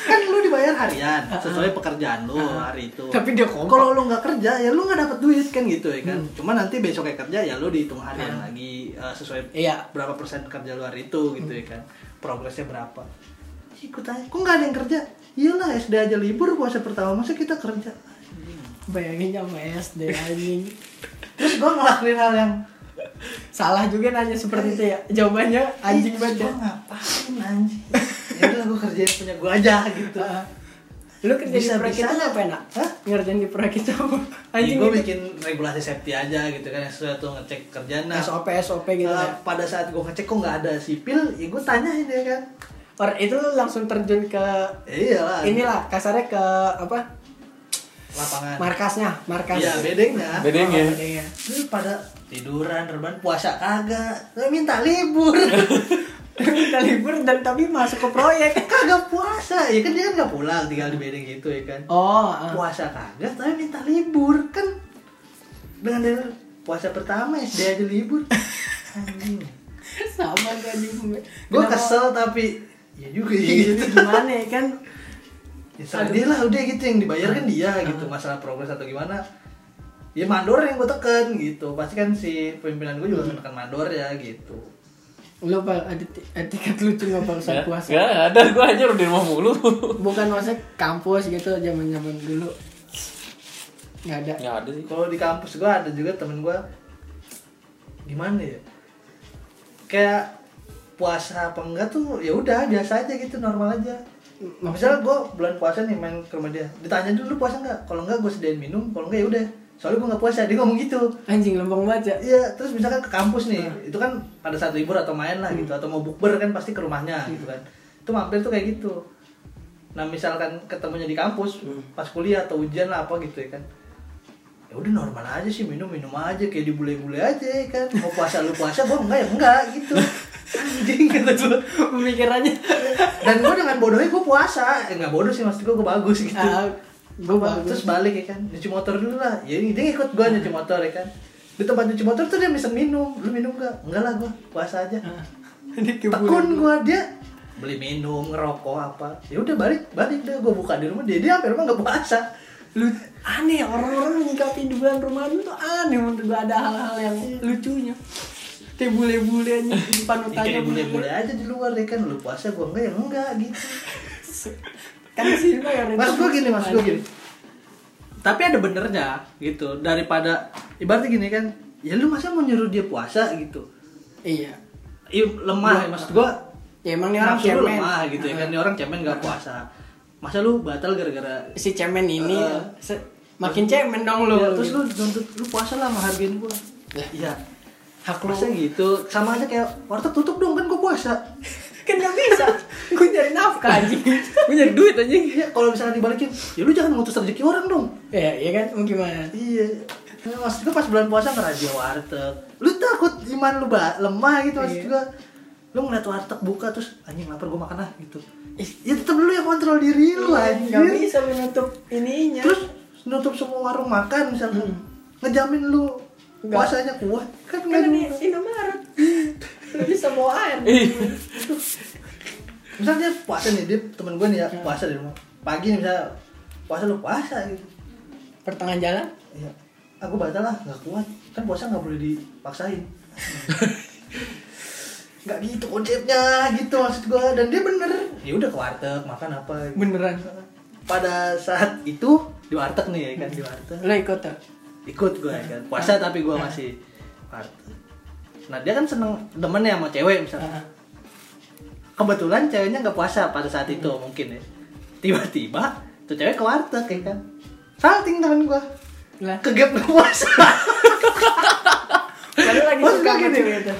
Speaker 2: kan lu dibayar harian sesuai pekerjaan lu hari itu
Speaker 1: Tapi dia kompak. Hmm.
Speaker 2: kalau lu nggak kerja ya lu nggak dapet duit kan gitu ya kan cuma nanti besoknya kerja ya lu dihitung harian
Speaker 1: Ah.
Speaker 2: lagi eh, sesuai
Speaker 1: Iya.
Speaker 2: berapa persen kerja lu hari itu gitu ya kan progresnya berapa ikut aja kok nggak ada yang kerja iyalah SD aja libur puasa pertama masa kita kerja
Speaker 1: Bayangin sama SD anjing.
Speaker 2: terus gua ngelakuin hal yang
Speaker 1: Salah juga nanya seperti itu ya. Jawabannya anjing
Speaker 2: "Ih,
Speaker 1: banget. ya.
Speaker 2: gua ngapain anjing ya udah gua kerjain punya gua aja gitu
Speaker 1: Heeh. Ah. Lu kerja di
Speaker 2: Bisa-
Speaker 1: proyek itu
Speaker 2: bisa aja.
Speaker 1: ngapain nak?
Speaker 2: Hah?
Speaker 1: Ngerjain di proyek itu apa?
Speaker 2: Anjing
Speaker 1: Anjing
Speaker 2: gue
Speaker 1: gitu.
Speaker 2: bikin regulasi safety aja gitu kan yang sesuai tuh ngecek kerjaan nah
Speaker 1: SOP SOP gitu
Speaker 2: eh,
Speaker 1: ya.
Speaker 2: pada saat gue ngecek kok nggak ada sipil ya gue tanyain dia kan
Speaker 1: Or itu lu langsung terjun ke
Speaker 2: iyalah
Speaker 1: inilah kasarnya ke apa?
Speaker 2: lapangan
Speaker 1: Markasnya, markas.
Speaker 2: Ah. iya bedengnya
Speaker 3: Bedeng ya.
Speaker 1: Oh, bedengnya.
Speaker 2: Lu pada tiduran rebahan puasa kagak Lu minta libur Eh,
Speaker 1: Kita libur dan tapi masuk ke proyek.
Speaker 2: kagak puasa ya kan dia kan nggak pulang tinggal di bedeng gitu ya kan
Speaker 1: Oh, ah.
Speaker 2: puasa kagak tapi minta libur kan dengan dengan puasa pertama SD aja libur anjing
Speaker 1: sama kan
Speaker 2: gue kesel tapi ya juga ya gitu
Speaker 1: Jadi gimana ya kan?
Speaker 2: ya, salah dia lah udah gitu yang dibayar kan dia gitu masalah progres atau gimana ya mandor yang gue tekan gitu pasti kan si pimpinan gue juga menekan mandor ya gitu
Speaker 1: Lo Pak, ada ti- etiket lucu nggak Pak saat puasa?
Speaker 3: Gak Ya. ada, gue aja di rumah mulu.
Speaker 1: Bukan maksudnya kampus gitu zaman zaman dulu. Nggak ada.
Speaker 3: Gak ada sih.
Speaker 2: kalau di kampus gue ada juga temen gue gimana ya kayak puasa apa enggak tuh ya udah biasa aja gitu normal aja
Speaker 1: Maksudnya
Speaker 2: misalnya gue bulan puasa nih main ke rumah dia ditanya dulu "Lu puasa nggak kalau nggak gue sediain minum kalau nggak ya udah soalnya gue nggak puasa dia ngomong gitu
Speaker 1: anjing lembong banget ya.
Speaker 2: Iya, terus misalkan ke kampus nih, itu kan pada saat libur atau main lah gitu, atau mau bukber kan pasti ke rumahnya gitu kan. Itu mampir tuh kayak gitu. Nah misalkan ketemunya di kampus, pas kuliah atau ujian lah apa gitu ya kan. Ya udah normal aja sih minum minum aja kayak dibule-bule aja ya kan. Mau puasa lu puasa, gua enggak ya enggak gitu. Anjing kata gua.
Speaker 1: Pemikirannya.
Speaker 2: Dan gua dengan bodohnya gua puasa, eh, enggak bodoh sih maksud gua, gua bagus gitu.
Speaker 1: Ah, gue
Speaker 2: Ba-
Speaker 1: bagus.
Speaker 2: terus balik ya kan nyuci motor dulu lah ya ini dia ikut gua nyuci motor ya kan di tempat nyuci motor tuh dia bisa minum lu minum gak enggak lah gua puasa aja
Speaker 1: Ah. Ini
Speaker 2: tekun gua dia beli minum ngerokok apa ya udah balik balik deh gua buka di rumah dia dia hampir rumah nggak puasa
Speaker 1: lu aneh orang-orang menyikapi di bulan Ramadan tuh aneh menurut gua ada hal-hal yang lucunya kayak bule-bule aja di
Speaker 2: Ya,
Speaker 1: panutannya
Speaker 2: kayak boleh-boleh aja di luar ya kan lu puasa gua enggak ya enggak gitu
Speaker 1: kan sih mah ya
Speaker 2: mas gua gini mas gua gini tapi ada benernya gitu daripada ibaratnya gini kan ya lu masa mau nyuruh dia puasa gitu
Speaker 1: iya
Speaker 2: Ih, lemah ya maksud gua
Speaker 1: ya emang nih orang
Speaker 2: Nafsu lu
Speaker 1: cemen
Speaker 2: lemah gitu ya kan ini orang cemen gak puasa masa lu batal gara-gara
Speaker 1: si cemen ini
Speaker 2: Heeh.
Speaker 1: se- makin cemen dong lu
Speaker 2: Ya, terus lu nuntut lu puasa lah menghargain gua
Speaker 1: Lah.
Speaker 2: iya
Speaker 1: hak lu
Speaker 2: masa gitu sama aja kayak warteg tutup dong kan gua puasa
Speaker 1: kan gak bisa gue nyari nafkah aja
Speaker 3: Gue nyari duit aja.
Speaker 2: iya kalau misalnya dibalikin ya lu jangan ngutus rezeki orang dong
Speaker 1: ya iya kan mau gimana
Speaker 2: iya Nah, maksud gua pas bulan puasa ngerajia warteg lu takut iman lu ba- lemah gitu maksud
Speaker 1: Iya.
Speaker 2: gua lu ngeliat warteg buka terus anjing lapar gua makan lah gitu ya tetep lu yang kontrol diri lu anjing
Speaker 1: gak bisa menutup ininya
Speaker 2: Ya. terus nutup semua warung makan misalnya
Speaker 1: Hmm.
Speaker 2: ngejamin lu
Speaker 1: Nggak.
Speaker 2: puasanya kuat kan
Speaker 1: kan
Speaker 2: nggak
Speaker 1: ini Indomaret lu bisa bawa air
Speaker 2: Iya. misalnya dia puasa nih dia temen gue nih ya puasa di rumah pagi nih misalnya puasa lu puasa gitu
Speaker 1: pertengahan jalan
Speaker 2: iya aku batal lah nggak kuat kan puasa nggak boleh dipaksain nggak gitu konsepnya gitu maksud gue dan dia bener ya udah ke warteg makan apa gitu.
Speaker 1: beneran
Speaker 2: pada saat itu di warteg nih ya kan di warteg
Speaker 1: lo ikut tuh
Speaker 2: ikut gue kan puasa tapi gue masih party. nah dia kan seneng demen ya sama cewek misalnya kebetulan ceweknya nggak puasa pada saat itu
Speaker 1: Hmm.
Speaker 2: mungkin ya tiba-tiba tuh cewek ke warteg ya kan salting temen gue
Speaker 1: lah
Speaker 2: kegep nggak puasa
Speaker 1: Padahal lagi
Speaker 2: Maksud
Speaker 1: suka
Speaker 2: gua
Speaker 1: sama
Speaker 2: gini.
Speaker 1: cewek itu.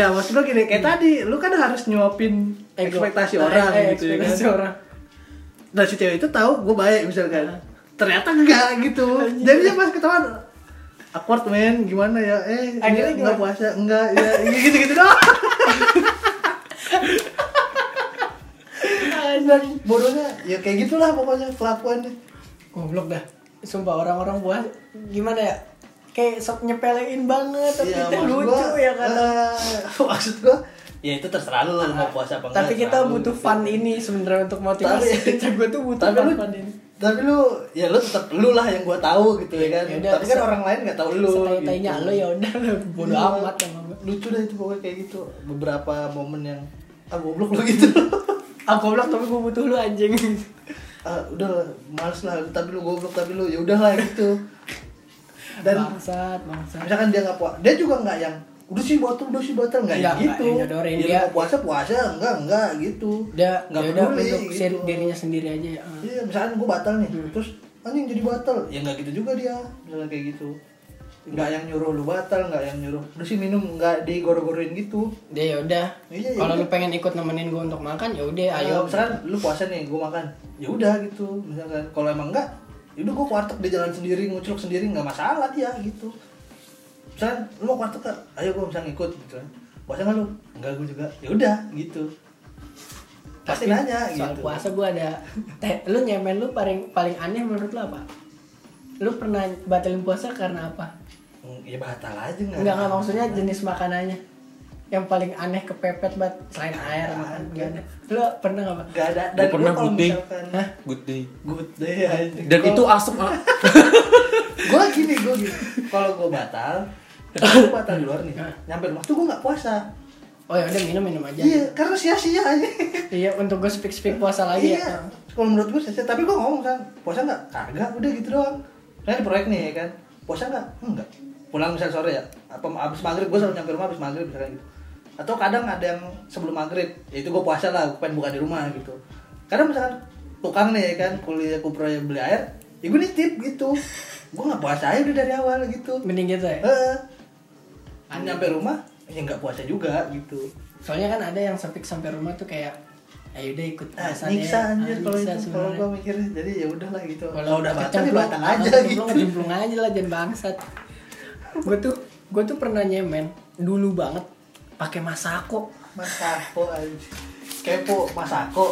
Speaker 2: ya maksud gue gini kayak tadi lu kan harus nyuapin
Speaker 1: Ego.
Speaker 2: ekspektasi
Speaker 1: Hmm. Eh,
Speaker 2: orang
Speaker 1: eh,
Speaker 2: gitu ya kan
Speaker 1: ekspektasi orang.
Speaker 2: nah si cewek itu tahu gue baik misalkan
Speaker 1: Ah.
Speaker 2: ternyata enggak gitu jadi dia pas ketahuan awkward men gimana ya eh
Speaker 1: Akhirnya
Speaker 2: akhirnya
Speaker 1: gimana?
Speaker 2: nggak puasa enggak ya gitu gitu doang dan bodohnya ya kayak gitulah pokoknya kelakuannya
Speaker 1: Goblok dah. Sumpah orang-orang buat gimana ya? Kayak sok nyepelein banget tapi
Speaker 2: Iya,
Speaker 1: kita
Speaker 2: maksud
Speaker 1: lucu
Speaker 2: gua,
Speaker 1: ya kan.
Speaker 2: eh, maksud gua ya itu terserah lu lah, mau puasa apa enggak
Speaker 1: tapi kita
Speaker 2: terserah lu,
Speaker 1: butuh
Speaker 2: gitu.
Speaker 1: fun ini sebenarnya untuk motivasi
Speaker 2: Tapi-
Speaker 1: kita. Gue tuh butuh
Speaker 2: tapi
Speaker 1: fun,
Speaker 2: lu
Speaker 1: fun ini.
Speaker 2: tapi lu ya lu tetap lu lah yang gua tahu gitu ya kan
Speaker 1: Ya udah,
Speaker 2: tapi kan
Speaker 1: se-
Speaker 2: orang lain nggak tahu lu
Speaker 1: Setai-tainya
Speaker 2: gitu.
Speaker 1: lo ya udah lu bodo
Speaker 2: Iya.
Speaker 1: amat sama gue.
Speaker 2: lucu dah itu pokoknya kayak gitu beberapa momen yang ah goblok lu gitu
Speaker 1: Ah goblok tapi gue butuh lu anjing.
Speaker 2: ah udah lah, males lah tapi lu goblok tapi lu ya udahlah gitu dan
Speaker 1: bangsat, bangsat.
Speaker 2: Nah, misalkan dia nggak puasa dia juga nggak yang udah sih botol udah sih botol nggak
Speaker 1: Iya, Nggak,
Speaker 2: yang gitu
Speaker 1: nggak, nyodorin
Speaker 2: dia,
Speaker 1: dia.
Speaker 2: mau puasa puasa enggak enggak gitu
Speaker 1: Udah,
Speaker 2: nggak
Speaker 1: ya udah
Speaker 2: peduli
Speaker 1: untuk
Speaker 2: gitu.
Speaker 1: dirinya sendiri Hmm. aja ya.
Speaker 2: iya misalkan gue batal nih terus anjing jadi batal ya nggak gitu juga dia misalnya kayak gitu nggak yang nyuruh lu batal nggak yang nyuruh lu sih minum nggak digoro-goroin gitu
Speaker 1: Dia yaudah.
Speaker 2: Iya, iya,
Speaker 1: Kalau
Speaker 2: iya. Nah,
Speaker 1: lu pengen ikut nemenin gue untuk makan, yaudah Eh, ayo.
Speaker 2: ayo Eh, misalkan lu puasa nih gue makan ya udah gitu misalkan kalau emang enggak ya udah gue kuartek di jalan sendiri ngucruk sendiri nggak masalah dia gitu misalkan lu mau kuartek nggak? ayo gue misalkan ikut gitu kan puasa nggak lu enggak gue juga ya udah gitu pasti
Speaker 1: Tapi
Speaker 2: nanya
Speaker 1: soal
Speaker 2: gitu
Speaker 1: puasa gue ada. Teh, lu nyemen lu paling paling aneh menurut lu apa? Lu pernah batalin puasa karena apa?
Speaker 2: Mm, ya batal aja nggak
Speaker 1: Enggak enggak maksudnya jenis makanannya yang paling aneh kepepet banget selain air
Speaker 2: Nah,
Speaker 1: makan
Speaker 2: iya.
Speaker 1: enggak ada. Lu pernah enggak, Pak?
Speaker 2: nggak ada
Speaker 3: Gua
Speaker 2: dan gue
Speaker 3: pernah
Speaker 2: kalau
Speaker 3: good day.
Speaker 2: misalkan
Speaker 1: Hah?
Speaker 3: Good day.
Speaker 2: good day aja.
Speaker 3: Dan itu asem ah.
Speaker 2: gue gini gue gini kalau gue batal gue batal di luar nih nyampe rumah tuh gue nggak puasa
Speaker 1: Oh ya udah minum minum aja.
Speaker 2: iya karena sia-sia aja
Speaker 1: Iya, untuk gue speak speak puasa lagi
Speaker 2: iya.
Speaker 1: ya.
Speaker 2: Kalau menurut gue sia-sia. tapi gue ngomong kan, puasa nggak? Kagak, udah gitu doang. Saya di proyek nih ya kan, puasa nggak? Enggak. Pulang misalnya sore ya, apa abis maghrib gue selalu nyampe rumah abis maghrib misalnya gitu. Atau kadang ada yang sebelum maghrib, ya itu gue puasa lah, gue pengen buka di rumah gitu. Kadang misalkan tukang nih ya kan, kuliah kuproyek beli air, ya gue nitip gitu. Gue nggak puasa aja udah dari awal gitu.
Speaker 1: Mending gitu ya.
Speaker 2: Heeh. Nyampe rumah, ya nggak puasa juga gitu.
Speaker 1: Soalnya kan ada yang speak sampai rumah tuh kayak ayo udah ikut
Speaker 2: Ah,
Speaker 1: puasa
Speaker 2: nyiksa anjir
Speaker 1: Ah,
Speaker 2: kalau
Speaker 1: nyiksa
Speaker 2: itu kalau
Speaker 1: sebenarnya.
Speaker 2: gua mikirnya jadi ya udahlah gitu. Kalau
Speaker 1: Walau
Speaker 2: udah batal ya
Speaker 1: kecemplung,
Speaker 2: batal aja
Speaker 1: kalau
Speaker 2: gitu.
Speaker 1: kecemplung, Kecemplung aja lah jangan bangsat. gue tuh gue tuh pernah nyemen dulu banget pakai masako.
Speaker 2: Masako anjir. Kepo Masako.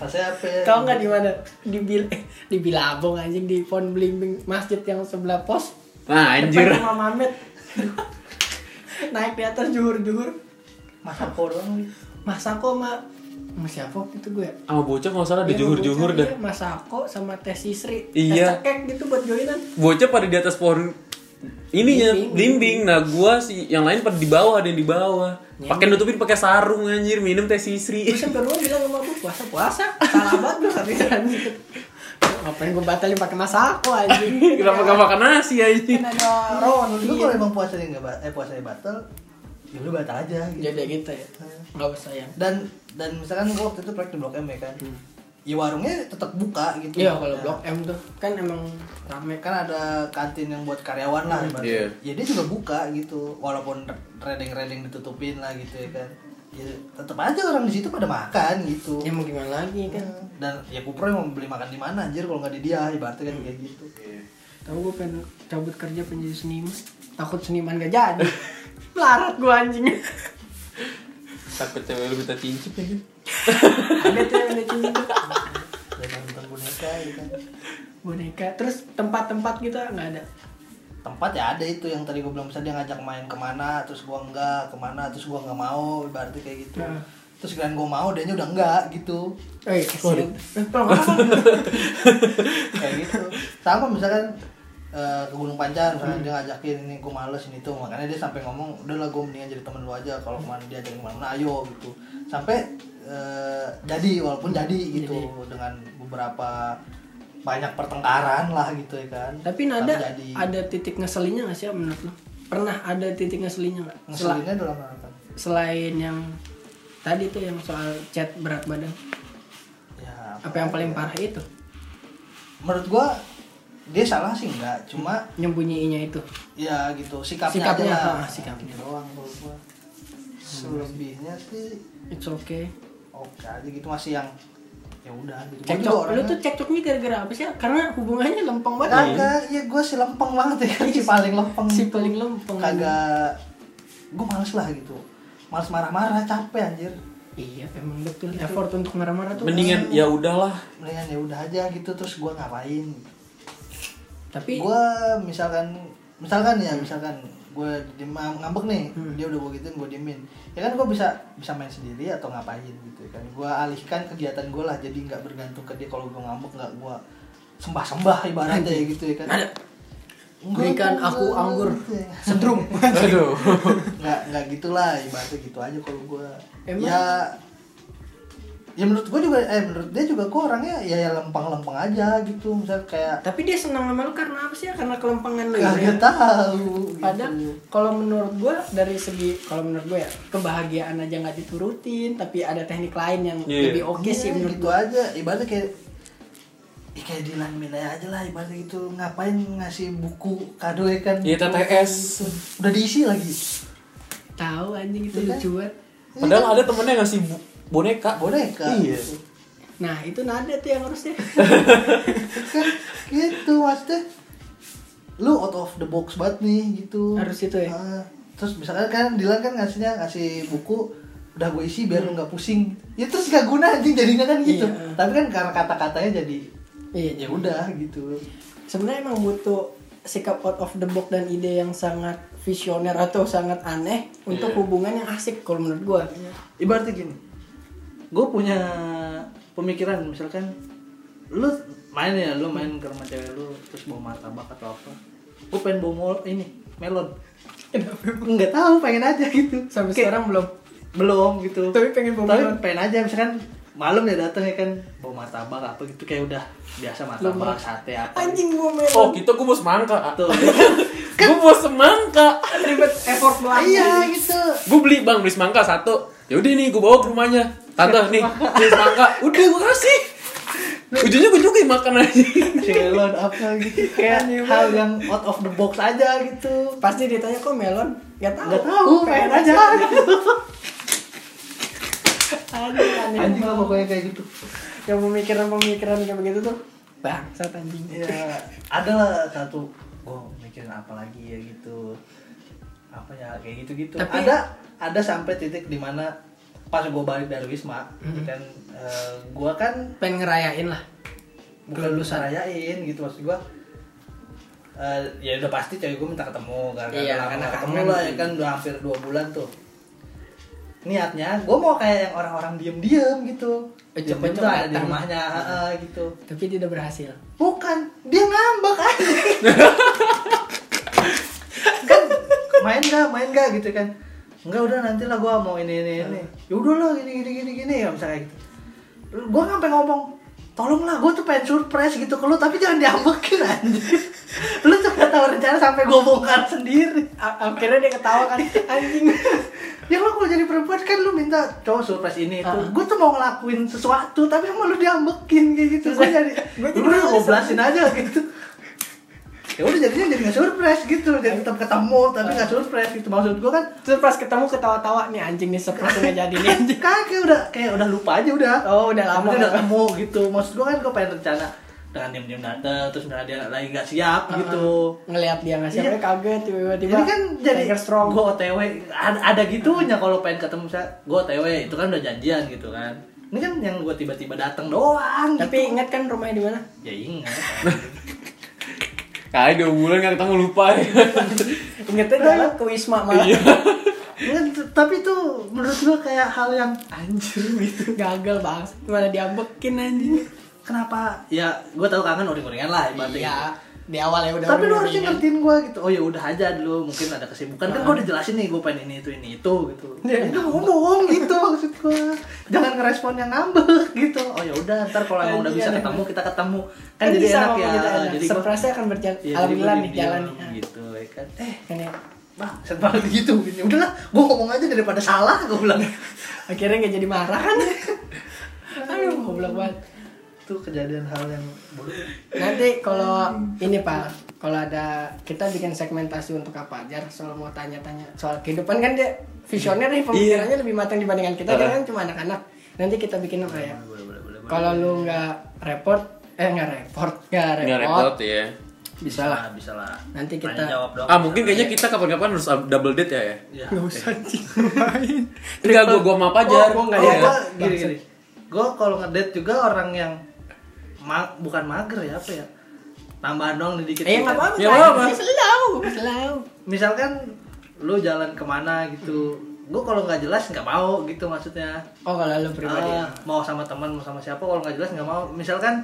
Speaker 2: Rasanya apa ya?
Speaker 1: Tau nggak di mana? Di Bil eh, di Bilabong anjing di Pon Blimbing masjid yang sebelah pos.
Speaker 3: Nah anjir.
Speaker 1: Depan rumah Mamet. Naik di atas juhur-juhur.
Speaker 2: Masako doang. Wi.
Speaker 1: Masako sama sama siapa waktu itu gue ya?
Speaker 3: Sama Ah, bocah kalau salah ada
Speaker 1: Iya,
Speaker 3: juhur-juhur
Speaker 1: bocah,
Speaker 3: dah.
Speaker 1: iya, Masako sama Teh Sisri.
Speaker 3: Iya.
Speaker 1: Teh cekek gitu buat joinan.
Speaker 3: Bocah pada di atas pohon ininya
Speaker 1: Blimbing.
Speaker 3: blimbing. Nah gua sih yang lain pada di bawah ada yang di bawah. Pakai nutupin pakai sarung anjir minum teh
Speaker 1: Gue
Speaker 3: sisri.
Speaker 1: sampai rumah bilang sama gue puasa puasa. Salah banget gue tapi anjing. gitu." Ngapain gue batalin pakai Masako anjing.
Speaker 3: Kenapa gak makan nasi anjir?
Speaker 1: Kan ada Ron. iya.
Speaker 2: Lu kalau emang puasanya enggak eh puasanya batal, ya udah batal aja gitu.
Speaker 1: Jadi gitu ya. Gak usah yang.
Speaker 2: Dan dan misalkan gua waktu itu proyek di Blok M ya kan. Ya warungnya tetap buka gitu.
Speaker 1: Hmm. Iya kalau
Speaker 2: Ya.
Speaker 1: blok M tuh kan emang
Speaker 2: rame kan ada kantin yang buat karyawan lah
Speaker 3: Iya.
Speaker 2: ibaratnya. ya dia juga buka gitu walaupun reding-reding ditutupin lah gitu ya kan ya tetap aja orang di situ pada makan gitu
Speaker 1: ya mau gimana lagi kan.
Speaker 2: dan ya kupro mau beli makan di mana anjir kalau nggak di dia ibaratnya kan kayak gitu
Speaker 1: Tahu gue pengen cabut kerja pengen jadi seniman. Takut seniman gak jadi. Melarat gue anjingnya.
Speaker 3: Takut cewek lu minta cincin ya kan?
Speaker 1: Ada tuh yang lucu
Speaker 2: dan tentang boneka ya kan
Speaker 1: boneka. Terus tempat-tempat gitu nggak ada.
Speaker 2: tempat ya ada itu yang tadi gue bilang misalnya dia ngajak main kemana terus gua enggak kemana terus gua nggak mau ibaratnya kayak gitu
Speaker 1: Nah.
Speaker 2: terus kalian gue mau dia udah enggak gitu
Speaker 1: Eh, kasihan. Eh, tolong apa?
Speaker 2: kayak gitu sama misalkan eh, ke Gunung Pancar
Speaker 1: Hmm.
Speaker 2: misalkan dia ngajakin ini gue males ini tuh makanya dia sampai ngomong udah lah gue mendingan jadi temen lu aja kalau
Speaker 1: Hmm.
Speaker 2: kemana dia jadi kemana ayo gitu sampai eh, jadi walaupun jadi gitu dengan beberapa banyak pertengkaran lah gitu ya kan
Speaker 1: Tapi nada
Speaker 2: Tapi jadi
Speaker 1: ada titik ngeselinnya nggak sih ya, menurut lo? Pernah ada titik ngeselinnya nggak? Sel-
Speaker 2: ngeselinnya kan. dalam hal apa?
Speaker 1: selain yang tadi tuh yang soal chat berat badan.
Speaker 2: ya
Speaker 1: Apa yang paling parah itu?
Speaker 2: menurut gue dia salah sih enggak cuma
Speaker 1: Nyembunyiinnya itu.
Speaker 2: ya gitu sikapnya,
Speaker 1: Sikapnya,
Speaker 2: aja lah
Speaker 1: ah, sikapnya. Hmm.
Speaker 2: Gitu doang menurut gue selebihnya sih
Speaker 1: It's okay.
Speaker 2: oke aja gitu masih yang ya udah gitu Gua juga
Speaker 1: Cekcok, lu
Speaker 2: orangnya-
Speaker 1: tuh cekcoknya gara-gara apa sih? ya? Karena hubungannya lempeng banget.
Speaker 2: kagak ya gue si lempeng banget ya si paling lempeng
Speaker 1: Si paling lempeng.
Speaker 2: kagak gue males lah gitu males marah-marah capek anjir
Speaker 1: Iya, emang betul. Effort untuk marah-marah tuh.
Speaker 3: Mendingan ya udahlah.
Speaker 2: mendingan ya udah aja gitu terus gue ngapain
Speaker 1: Tapi
Speaker 2: gue misalkan misalkan ya misalkan gue diem ngambek nih
Speaker 1: Hmm.
Speaker 2: dia udah gue gituin gue diemin ya kan gue bisa bisa main sendiri atau ngapain gitu ya kan gue alihkan kegiatan gue lah jadi nggak bergantung ke dia kalau gue ngambek nggak gue sembah-sembah ibaratnya ya gitu ya kan
Speaker 1: Ada.
Speaker 2: Enggak,
Speaker 1: berikan
Speaker 2: enggak,
Speaker 1: aku
Speaker 2: enggak,
Speaker 1: anggur
Speaker 2: enggak.
Speaker 1: sedrum.
Speaker 3: Aduh.
Speaker 2: nggak nggak gitulah ibaratnya gitu aja kalau gue
Speaker 1: Emang?
Speaker 2: ya ya menurut gue juga eh menurut dia juga gue orangnya ya, ya lempeng-lempeng aja gitu misal kayak
Speaker 1: Tapi dia senang sama lu karena apa sih? ya? Karena kelempengan lu.
Speaker 2: kagak
Speaker 1: ya?
Speaker 2: tahu
Speaker 1: Padahal
Speaker 2: gitu.
Speaker 1: kalau menurut gue dari segi kalau menurut gue ya kebahagiaan aja nggak diturutin, tapi ada teknik lain yang
Speaker 3: Iya.
Speaker 1: lebih oke sih
Speaker 2: Iya,
Speaker 1: menurut
Speaker 2: gitu
Speaker 1: gue.
Speaker 2: aja ibaratnya kayak ya kayak Dilan Milea aja lah ibaratnya gitu ngapain ngasih buku kado ya kan
Speaker 3: Iya, TTS.
Speaker 2: udah diisi lagi
Speaker 1: Tahu anjing itu
Speaker 2: Iya. kan?
Speaker 1: lucu banget.
Speaker 3: Padahal ada temennya ngasih bu- boneka.
Speaker 2: boneka
Speaker 3: Iya.
Speaker 1: Nah, itu nada tuh yang harusnya.
Speaker 2: kan gitu maksudnya lu out of the box banget nih gitu
Speaker 1: Harus gitu ya?
Speaker 2: Ah, terus misalkan kan Dilan kan ngasihnya ngasih buku udah gue isi biar lu nggak pusing ya terus gak guna anjing jadinya kan gitu
Speaker 1: Iya.
Speaker 2: tapi kan karena kata-katanya jadi
Speaker 1: iya,
Speaker 2: ya udah gitu
Speaker 1: sebenarnya emang butuh sikap out of the box dan ide yang sangat visioner atau sangat aneh untuk
Speaker 3: Iya.
Speaker 1: hubungan yang asik kalau menurut gua.
Speaker 2: ibaratnya gini gue punya pemikiran misalkan lu main ya lu main ke rumah cewek lu terus bawa martabak atau apa gue pengen bawa mol- ini melon nggak tahu pengen aja gitu
Speaker 1: Sampai
Speaker 2: Kayak-
Speaker 1: sekarang belum.
Speaker 2: belum gitu
Speaker 1: Tapi pengen bawa
Speaker 2: Tapi
Speaker 1: melon.
Speaker 2: pengen aja misalkan malam ya datang ya kan bawa martabak apa gitu kayak udah biasa martabak
Speaker 1: Lumrah.
Speaker 2: sate apa
Speaker 1: Anjing gua melon.
Speaker 3: Oh, gitu gue mau semangka.
Speaker 2: Tuh.
Speaker 3: gue mau semangka.
Speaker 1: ribet effort
Speaker 2: Ah,
Speaker 1: banget.
Speaker 2: iya gitu
Speaker 3: Gue beli bang beli semangka satu. Ya udah nih gue bawa ke rumahnya. Tante nih beli semangka. Udah gue kasih. Ujungnya gue juga yang makan aja.
Speaker 2: melon apa gitu kayak
Speaker 1: Aneh
Speaker 2: hal yang out of the box aja gitu
Speaker 1: Pasti ditanya kok melon? Gak tahu.
Speaker 2: nggak tahu pengen aja
Speaker 1: Anjing aneh.
Speaker 2: anjing lah
Speaker 1: banget.
Speaker 2: pokoknya kayak gitu
Speaker 1: Yang pemikiran-pemikiran kayak begitu tuh bangsat anjing.
Speaker 2: ya ada lah satu gue mikirin apa lagi ya gitu apa ya kayak gitu gitu
Speaker 1: Tapi-
Speaker 2: ada ada sampai titik dimana pas gue balik dari wisma kan gue kan
Speaker 1: Pengen ngerayain lah.
Speaker 2: bukan lu sarayain gitu maksud gue ya udah pasti cewek gue minta ketemu karena
Speaker 1: Iya,
Speaker 2: lama
Speaker 1: karena
Speaker 2: nggak ketemu
Speaker 1: kangen.
Speaker 2: lah ya kan udah hampir dua bulan tuh niatnya gue mau kayak yang orang-orang diem-diem gitu
Speaker 1: Eh,
Speaker 2: Diem-diem
Speaker 1: cepet-cepet
Speaker 2: tuh ada di
Speaker 1: datang.
Speaker 2: rumahnya heeh, gitu
Speaker 1: Tapi tidak berhasil.
Speaker 2: Bukan, dia ngambek aja. kan main gak, main gak gitu kan. Enggak udah nanti lah gua mau ini ini ini. Ya udah lah gini gini gini gini ya misalnya gitu. Gua sampai ngomong, tolonglah gua tuh pengen surprise gitu ke lu tapi jangan diambekin anjir. lu tuh gak tahu rencana sampai gua bongkar sendiri.
Speaker 1: A- Akhirnya dia ketawa kan anjing.
Speaker 2: Ya lo kalau jadi perempuan kan lu minta cowok surprise ini itu.
Speaker 1: Ah.
Speaker 2: Gua tuh mau ngelakuin sesuatu tapi emang lu diambekin kayak gitu. Gua jadi
Speaker 1: gua jadi
Speaker 2: udah
Speaker 1: males.
Speaker 2: gua belasin aja gitu. Ya udah jadinya jadi nggak surprise gitu. Jadi tetap ketemu tapi nggak surprise gitu. Maksud gua kan
Speaker 1: Surprise ketemu ketawa-tawa nih anjing nih surprise nggak jadi nih anjing.
Speaker 2: kakek udah kan kayak udah lupa aja udah.
Speaker 1: Oh udah lama.
Speaker 2: Tapi udah ketemu gitu. Maksud gua kan gua pengen rencana dengan diam-diam datang terus misalnya dia lagi nggak siap
Speaker 1: Ah,
Speaker 2: gitu.
Speaker 1: Ngelihat dia nggak siapa
Speaker 2: Iya.
Speaker 1: kaget tiba-tiba.
Speaker 2: Jadi kan jadi
Speaker 1: Tiger strong.
Speaker 2: gue OTW ada, ada gitunya kalau pengen ketemu saya gue OTW itu kan udah janjian gitu kan. Ini kan yang gue tiba-tiba datang doang.
Speaker 1: Tapi ingat kan rumahnya di mana?
Speaker 2: gitu. ya ingat.
Speaker 3: Kayak dua bulan gak ketemu lupa ya.
Speaker 1: Ingatnya jalan ke Wisma malah.
Speaker 2: Ya, t- tapi itu menurut gue kayak hal yang anjir gitu.
Speaker 1: Gagal banget. Mana diambekin anjing.
Speaker 2: Kenapa? Ya gue tahu kangen uring-uringan lah ibaratnya. gitu.
Speaker 1: Iya. Di awal ya udah.
Speaker 2: Tapi lu harusnya
Speaker 1: udah-
Speaker 2: ngertiin gue gitu. Oh ya udah aja dulu mungkin ada kesibukan kan gue udah jelasin nih gue pengen ini itu ini itu gitu.
Speaker 1: Iya.
Speaker 2: Ya udah ngomong gitu maksud gue. Jangan ngerespon yang ngambek gitu. Oh ya udah ntar kalau emang udah
Speaker 1: Iya,
Speaker 2: bisa
Speaker 1: iya.
Speaker 2: ketemu kita ketemu kan,
Speaker 1: Kan
Speaker 2: jadi
Speaker 1: bisa
Speaker 2: enak
Speaker 1: ngomong
Speaker 2: ya.
Speaker 1: kita enak.
Speaker 2: Jadi gua-
Speaker 1: Surprise-nya akan berjalan.
Speaker 2: Iya, jadi
Speaker 1: Alhamdulillah
Speaker 2: gua
Speaker 1: nih
Speaker 2: diem-diem
Speaker 1: jalan nih.
Speaker 2: gitu ya kan. Eh
Speaker 1: Ah, Ini
Speaker 2: Bang, banget gitu. Ya udahlah, gue ngomong aja daripada salah gue bilang.
Speaker 1: akhirnya nggak jadi marah kan? Aduh, goblok banget.
Speaker 2: Itu kejadian hal yang buruk.
Speaker 1: Nanti kalau ini Pak, kalau ada kita bikin segmentasi untuk apa aja soal mau tanya-tanya soal kehidupan kan dia visioner nih pemikirannya lebih matang dibandingkan kita dia kan cuma anak-anak. Nanti kita bikin apa ya?
Speaker 2: Boleh, boleh, boleh.
Speaker 1: Kalau lu nggak report eh nggak report nggak iya.
Speaker 3: Gak
Speaker 1: report,
Speaker 3: repot ya.
Speaker 1: bisa lah
Speaker 2: bisa lah.
Speaker 1: Nanti kita-
Speaker 2: Tanya jawab dong.
Speaker 3: Ah mungkin kayaknya kita kapan-kapan harus double date ya ya.
Speaker 2: Ya.
Speaker 1: nggak usah anjing
Speaker 3: Enggak gue gue map aja.
Speaker 1: Oh, gua nggak
Speaker 2: Kalau
Speaker 1: ya.
Speaker 2: gua gini gini. Gue kalau ngedate juga orang yang ma- bukan mager ya apa ya. Tambahan dong nih dikit.
Speaker 1: eh nggak apa-apa
Speaker 3: Ya,
Speaker 1: Pak.
Speaker 3: nggak apa-apa.
Speaker 1: selalu selalu
Speaker 2: Misalkan lu jalan kemana gitu. Gue kalau nggak jelas nggak mau gitu maksudnya.
Speaker 1: oh kalau lu pribadi
Speaker 2: Ah, mau sama teman mau sama siapa kalau nggak jelas nggak mau. Misalkan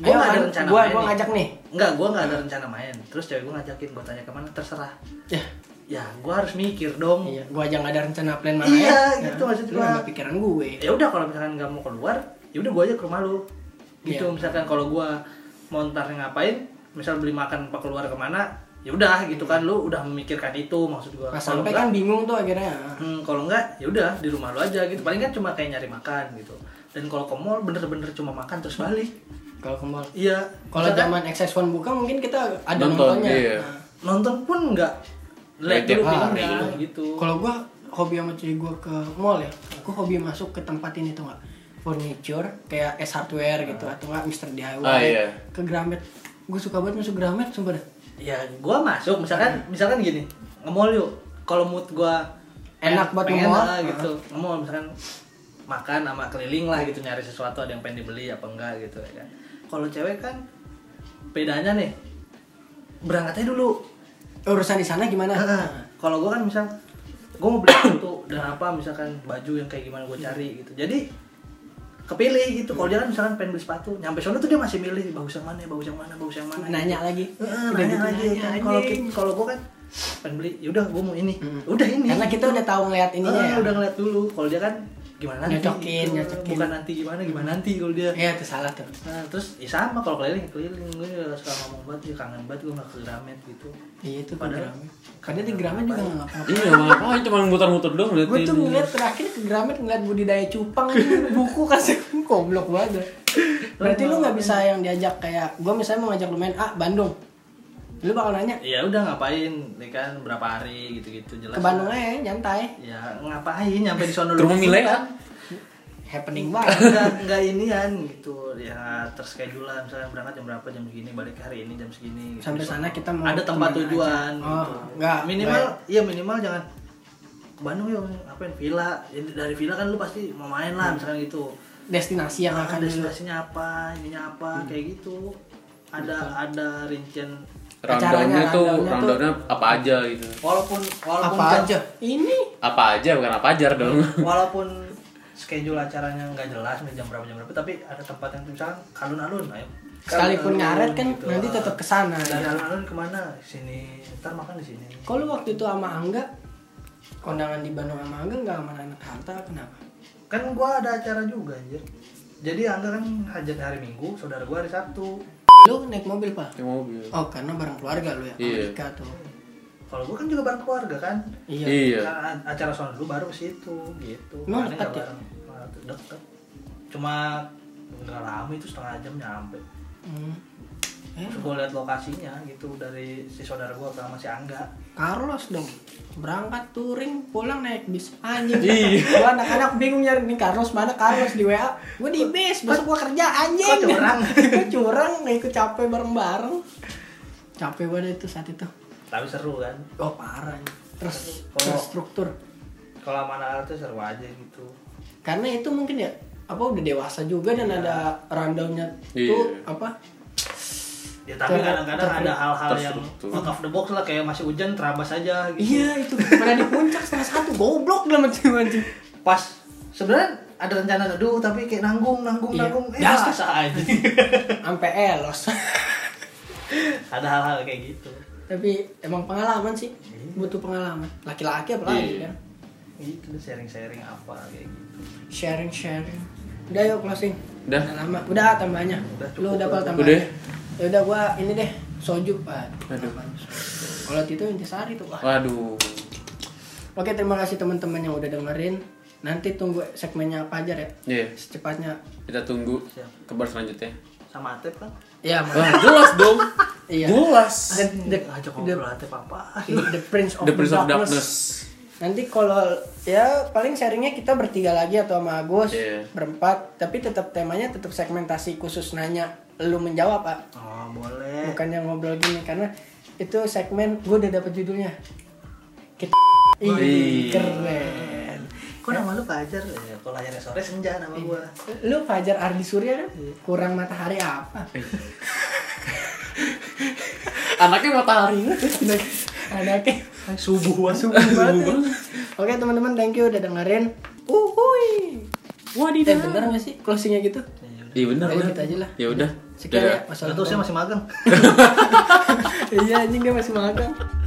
Speaker 2: gue
Speaker 1: Ayo,
Speaker 2: nggak ada
Speaker 1: An,
Speaker 2: rencana
Speaker 1: gua
Speaker 2: main.
Speaker 1: gua
Speaker 2: nih.
Speaker 1: ngajak nih
Speaker 2: Enggak, gue nggak ada rencana main. Terus cewek gue ngajakin gue tanya kemana terserah.
Speaker 1: ya
Speaker 2: Ya, gue harus mikir dong.
Speaker 1: iya gua aja nggak ada rencana plan mana
Speaker 2: Iya,
Speaker 1: ya.
Speaker 2: gitu maksud
Speaker 1: Lu
Speaker 2: gua.
Speaker 1: nambah pikiran gue
Speaker 2: ya udah kalau misalkan nggak mau keluar ya udah gue aja ke rumah lu gitu
Speaker 1: Iya.
Speaker 2: misalkan kalau gue mau ntar ngapain misal beli makan apa keluar kemana ya udah gitu kan lu udah memikirkan itu maksud gue
Speaker 1: pas
Speaker 2: kalau
Speaker 1: sampai
Speaker 2: enggak
Speaker 1: kan bingung tuh akhirnya
Speaker 2: hmm, kalau enggak ya udah di rumah lu aja gitu paling kan cuma kayak nyari makan gitu dan kalau ke mall bener-bener cuma makan terus balik
Speaker 1: kalau ke mall.
Speaker 2: Iya.
Speaker 1: Kalau
Speaker 2: Misalkan
Speaker 1: zaman XS1 buka mungkin kita ada
Speaker 3: Nonton,
Speaker 1: nontonnya.
Speaker 3: iya.
Speaker 1: Nah,
Speaker 2: nonton pun nggak lihat
Speaker 3: tiap
Speaker 2: dulu
Speaker 1: hari.
Speaker 2: filmnya gitu.
Speaker 1: Ah, Kalau gua hobi sama cewek gua ke mall ya, aku hobi masuk ke tempat ini tuh nggak furniture kayak S Hardware gitu atau nggak Mister DIY
Speaker 3: Ah, iya.
Speaker 1: ke Gramet. Gue suka banget masuk Gramet sumpah dah.
Speaker 2: Ya, gua masuk misalkan
Speaker 1: Hmm.
Speaker 2: misalkan gini, nge-mall yuk. Kalau mood gua
Speaker 1: Enak buat
Speaker 2: pengen
Speaker 1: nge-mall. Hmm.
Speaker 2: lah gitu. Nge-mall misalkan makan sama keliling lah gitu nyari sesuatu ada yang pengen dibeli apa enggak gitu ya kan. Kalau cewek kan bedanya nih berangkatnya dulu
Speaker 1: Urusan di sana gimana?
Speaker 2: Heeh. kalau gue kan misal gue mau beli sepatu dan apa misalkan baju yang kayak gimana gue cari gitu jadi kepilih gitu kalau dia kan misalkan pengen beli sepatu nyampe sana tuh dia masih milih bagus yang mana bagus yang mana bagus yang mana
Speaker 1: Nah, Nanya lagi.
Speaker 2: Heeh,
Speaker 1: Udah
Speaker 2: nanya
Speaker 1: gitu
Speaker 2: lagi
Speaker 1: nanya,
Speaker 2: kan. kalau
Speaker 1: anjing. Hmm.
Speaker 2: ki- kalau gue kan pengen beli yaudah gue mau ini udah ini
Speaker 1: Karena kita udah tahu ngeliat ininya
Speaker 2: Heeh,
Speaker 1: ya.
Speaker 2: Ah, udah ngeliat dulu kalau dia kan gimana nanti Gitu.
Speaker 1: Nyocokin, nyocokin.
Speaker 2: bukan nanti gimana gimana nanti kalau dia
Speaker 1: Iya itu salah tuh.
Speaker 2: nah terus ya sama kalau keliling keliling gue suka ngomong banget ya kangen banget gue nggak ke Gramet gitu
Speaker 1: Iya itu ke
Speaker 2: Padahal-
Speaker 1: Gramet. Karena di Gramet juga nggak ngapa-ngapa.
Speaker 3: Iya, nggak ngapain cuma muter-muter doang
Speaker 1: Gue
Speaker 3: liatin.
Speaker 1: tuh ngeliat terakhir ke Gramet ngeliat budidaya cupang itu buku kasih goblok banget. Berarti lu nggak bisa yang diajak kayak gue misalnya mau ngajak lu main ah Bandung. Lu bakal nanya
Speaker 2: ya udah ngapain ya kan berapa hari gitu-gitu
Speaker 1: ke
Speaker 2: jelas
Speaker 1: Bandung aja nyantai.
Speaker 2: ya ngapain nyampe di sono
Speaker 3: Ke rumah
Speaker 1: ya?
Speaker 3: Mile, kan?
Speaker 1: Happening
Speaker 2: enggak
Speaker 1: banget.
Speaker 2: enggak inian gitu ya terschedule lah misalnya berangkat jam berapa jam segini balik hari ini jam segini gitu.
Speaker 1: Sampai
Speaker 2: Di
Speaker 1: sana
Speaker 2: sono.
Speaker 1: kita mau
Speaker 2: ada tempat
Speaker 1: kemana
Speaker 2: tujuan
Speaker 1: aja. Oh, ya?
Speaker 2: gitu.
Speaker 1: enggak,
Speaker 2: minimal iya minimal jangan ke Bandung yuk ngapain villa Ya, dari villa kan lu pasti mau main lah misalnya gitu
Speaker 1: Destinasi Hmm. yang
Speaker 2: Ah,
Speaker 1: akan di Hmm.
Speaker 2: destinasinya apa ininya apa kayak gitu ada ada rincian
Speaker 3: Rundownnya
Speaker 1: Acaranya,
Speaker 3: tuh,
Speaker 1: rundownnya tuh-
Speaker 3: rundownnya apa aja gitu.
Speaker 2: walaupun walaupun
Speaker 1: apa
Speaker 2: jam-
Speaker 1: aja? Ini
Speaker 3: Apa aja bukan apa aja dong.
Speaker 1: Iya.
Speaker 2: walaupun schedule acaranya nggak jelas nih jam berapa jam berapa tapi ada tempat yang misalkan kalun-alun ayo
Speaker 1: sekalipun
Speaker 2: Kalun-alun
Speaker 1: ngaret kan
Speaker 2: gitu.
Speaker 1: nanti tetap kesana.
Speaker 2: dari
Speaker 1: ya.
Speaker 2: alun-alun kemana sini ntar makan di sini
Speaker 1: Kalau lu waktu itu sama Angga kondangan di Bandung sama Angga nggak sama anak harta kenapa?
Speaker 2: kan gua ada acara juga anjir jadi angga kan hajat hari minggu saudara gua hari sabtu
Speaker 1: Lu naik mobil pak?
Speaker 3: Di mobil.
Speaker 1: Oh karena bareng keluarga lu ya,
Speaker 3: Iya.
Speaker 1: Amerika tuh.
Speaker 2: kalau gua kan juga bareng keluarga kan
Speaker 1: Iya.
Speaker 3: Iya.
Speaker 2: Kan a- acara sono dulu baru ke situ gitu
Speaker 1: Emang
Speaker 2: Makanya
Speaker 1: dekat
Speaker 2: nggak
Speaker 1: ya?
Speaker 2: bareng. Nah, deket cuma nggak lama itu setengah jam nyampe
Speaker 1: Hmm. Eh,
Speaker 2: Terus gue liat lokasinya gitu dari si saudara gue sama si Angga
Speaker 1: Carlos dong. Berangkat touring, pulang naik bis anjing.
Speaker 3: Iya.
Speaker 1: Gua anak-anak bingung nyari nih Carlos mana Carlos di WA. Gua di bis, besok gua kerja anjing.
Speaker 2: Kok curang?
Speaker 1: Gua curang, nggak ikut capek bareng-bareng. Capek banget itu saat itu.
Speaker 2: tapi seru kan
Speaker 1: Oh parah. anjing. Terus
Speaker 2: Kalau-
Speaker 1: terstruktur.
Speaker 2: kalau sama anak tuh seru aja gitu
Speaker 1: Karena itu mungkin ya apa udah dewasa juga dan ada rundownnya tuh
Speaker 3: Iya.
Speaker 1: apa
Speaker 2: ya
Speaker 1: Ter-
Speaker 2: tapi kadang-kadang
Speaker 1: ter-
Speaker 2: ada hal-hal yang
Speaker 3: terstruktur.
Speaker 2: out of the box lah kayak masih hujan terabas aja gitu
Speaker 1: Iya itu pernah di puncak setengah satu goblok dalam anjing anjing.
Speaker 2: pas sebenarnya ada rencana neduh tapi kayak nanggung nanggung
Speaker 1: Iya.
Speaker 2: nanggung eh
Speaker 1: Dasar.
Speaker 2: biasa aja
Speaker 1: Sampai elos.
Speaker 2: ada hal-hal kayak gitu
Speaker 1: Tapi emang pengalaman sih. Butuh pengalaman. Laki-laki apalagi
Speaker 3: Iya.
Speaker 1: kan.
Speaker 2: gitu sharing-sharing apa kayak gitu
Speaker 1: Sharing sharing. Udah yuk closing.
Speaker 3: Udah.
Speaker 1: lama. Udah tambahnya.
Speaker 2: Udah, cukup,
Speaker 1: Lu udah
Speaker 2: udah,
Speaker 1: pal
Speaker 2: cukup.
Speaker 1: tambahnya.
Speaker 3: Udah.
Speaker 1: Ya udah gua ini deh soju pak.
Speaker 3: Aduh.
Speaker 1: Kalau itu intisari tuh Wah.
Speaker 3: Waduh.
Speaker 1: Oke terima kasih teman-teman yang udah dengerin. Nanti tunggu segmennya apa aja ya.
Speaker 3: Iya.
Speaker 1: Secepatnya.
Speaker 3: Kita tunggu
Speaker 2: Siap.
Speaker 3: kabar selanjutnya.
Speaker 2: sama Atep kan
Speaker 1: Ya.
Speaker 3: Wah, jelas dong.
Speaker 1: Iya.
Speaker 3: Jelas.
Speaker 1: The-
Speaker 2: ngajak
Speaker 1: the-
Speaker 2: ngobrol Atep apa
Speaker 1: The Prince of
Speaker 3: The Prince of
Speaker 1: darkness.
Speaker 3: Darkness.
Speaker 1: Nanti kalau ya paling sharingnya kita bertiga lagi atau sama Agus
Speaker 3: Iya.
Speaker 1: berempat, tapi tetap temanya tetap segmentasi khusus nanya lu menjawab pak,
Speaker 2: oh boleh
Speaker 1: bukan yang ngobrol gini karena itu segmen gue udah dapet judulnya. Kita Ih,
Speaker 3: Wih.
Speaker 1: keren.
Speaker 2: kok nama lu Fajar ya kalau layarnya sore senja nama gue
Speaker 1: Lu Fajar Ardi Surya kan? Kurang matahari apa?
Speaker 3: Anaknya matahari.
Speaker 1: Iya. Ada oke.
Speaker 2: subuh
Speaker 1: Subuh banget. Oke teman-teman, thank you udah dengerin. Uhuy. Eh
Speaker 3: Wadidah.
Speaker 1: bener gak sih closingnya gitu?
Speaker 3: Iya benar.
Speaker 1: Udah, gitu aja lah.
Speaker 3: Ya udah.
Speaker 1: Sekian ya.
Speaker 2: Gak
Speaker 3: Dadah.
Speaker 2: tau
Speaker 1: Wassalamualaikum.
Speaker 2: saya masih magang
Speaker 1: iya anjing dia masih makan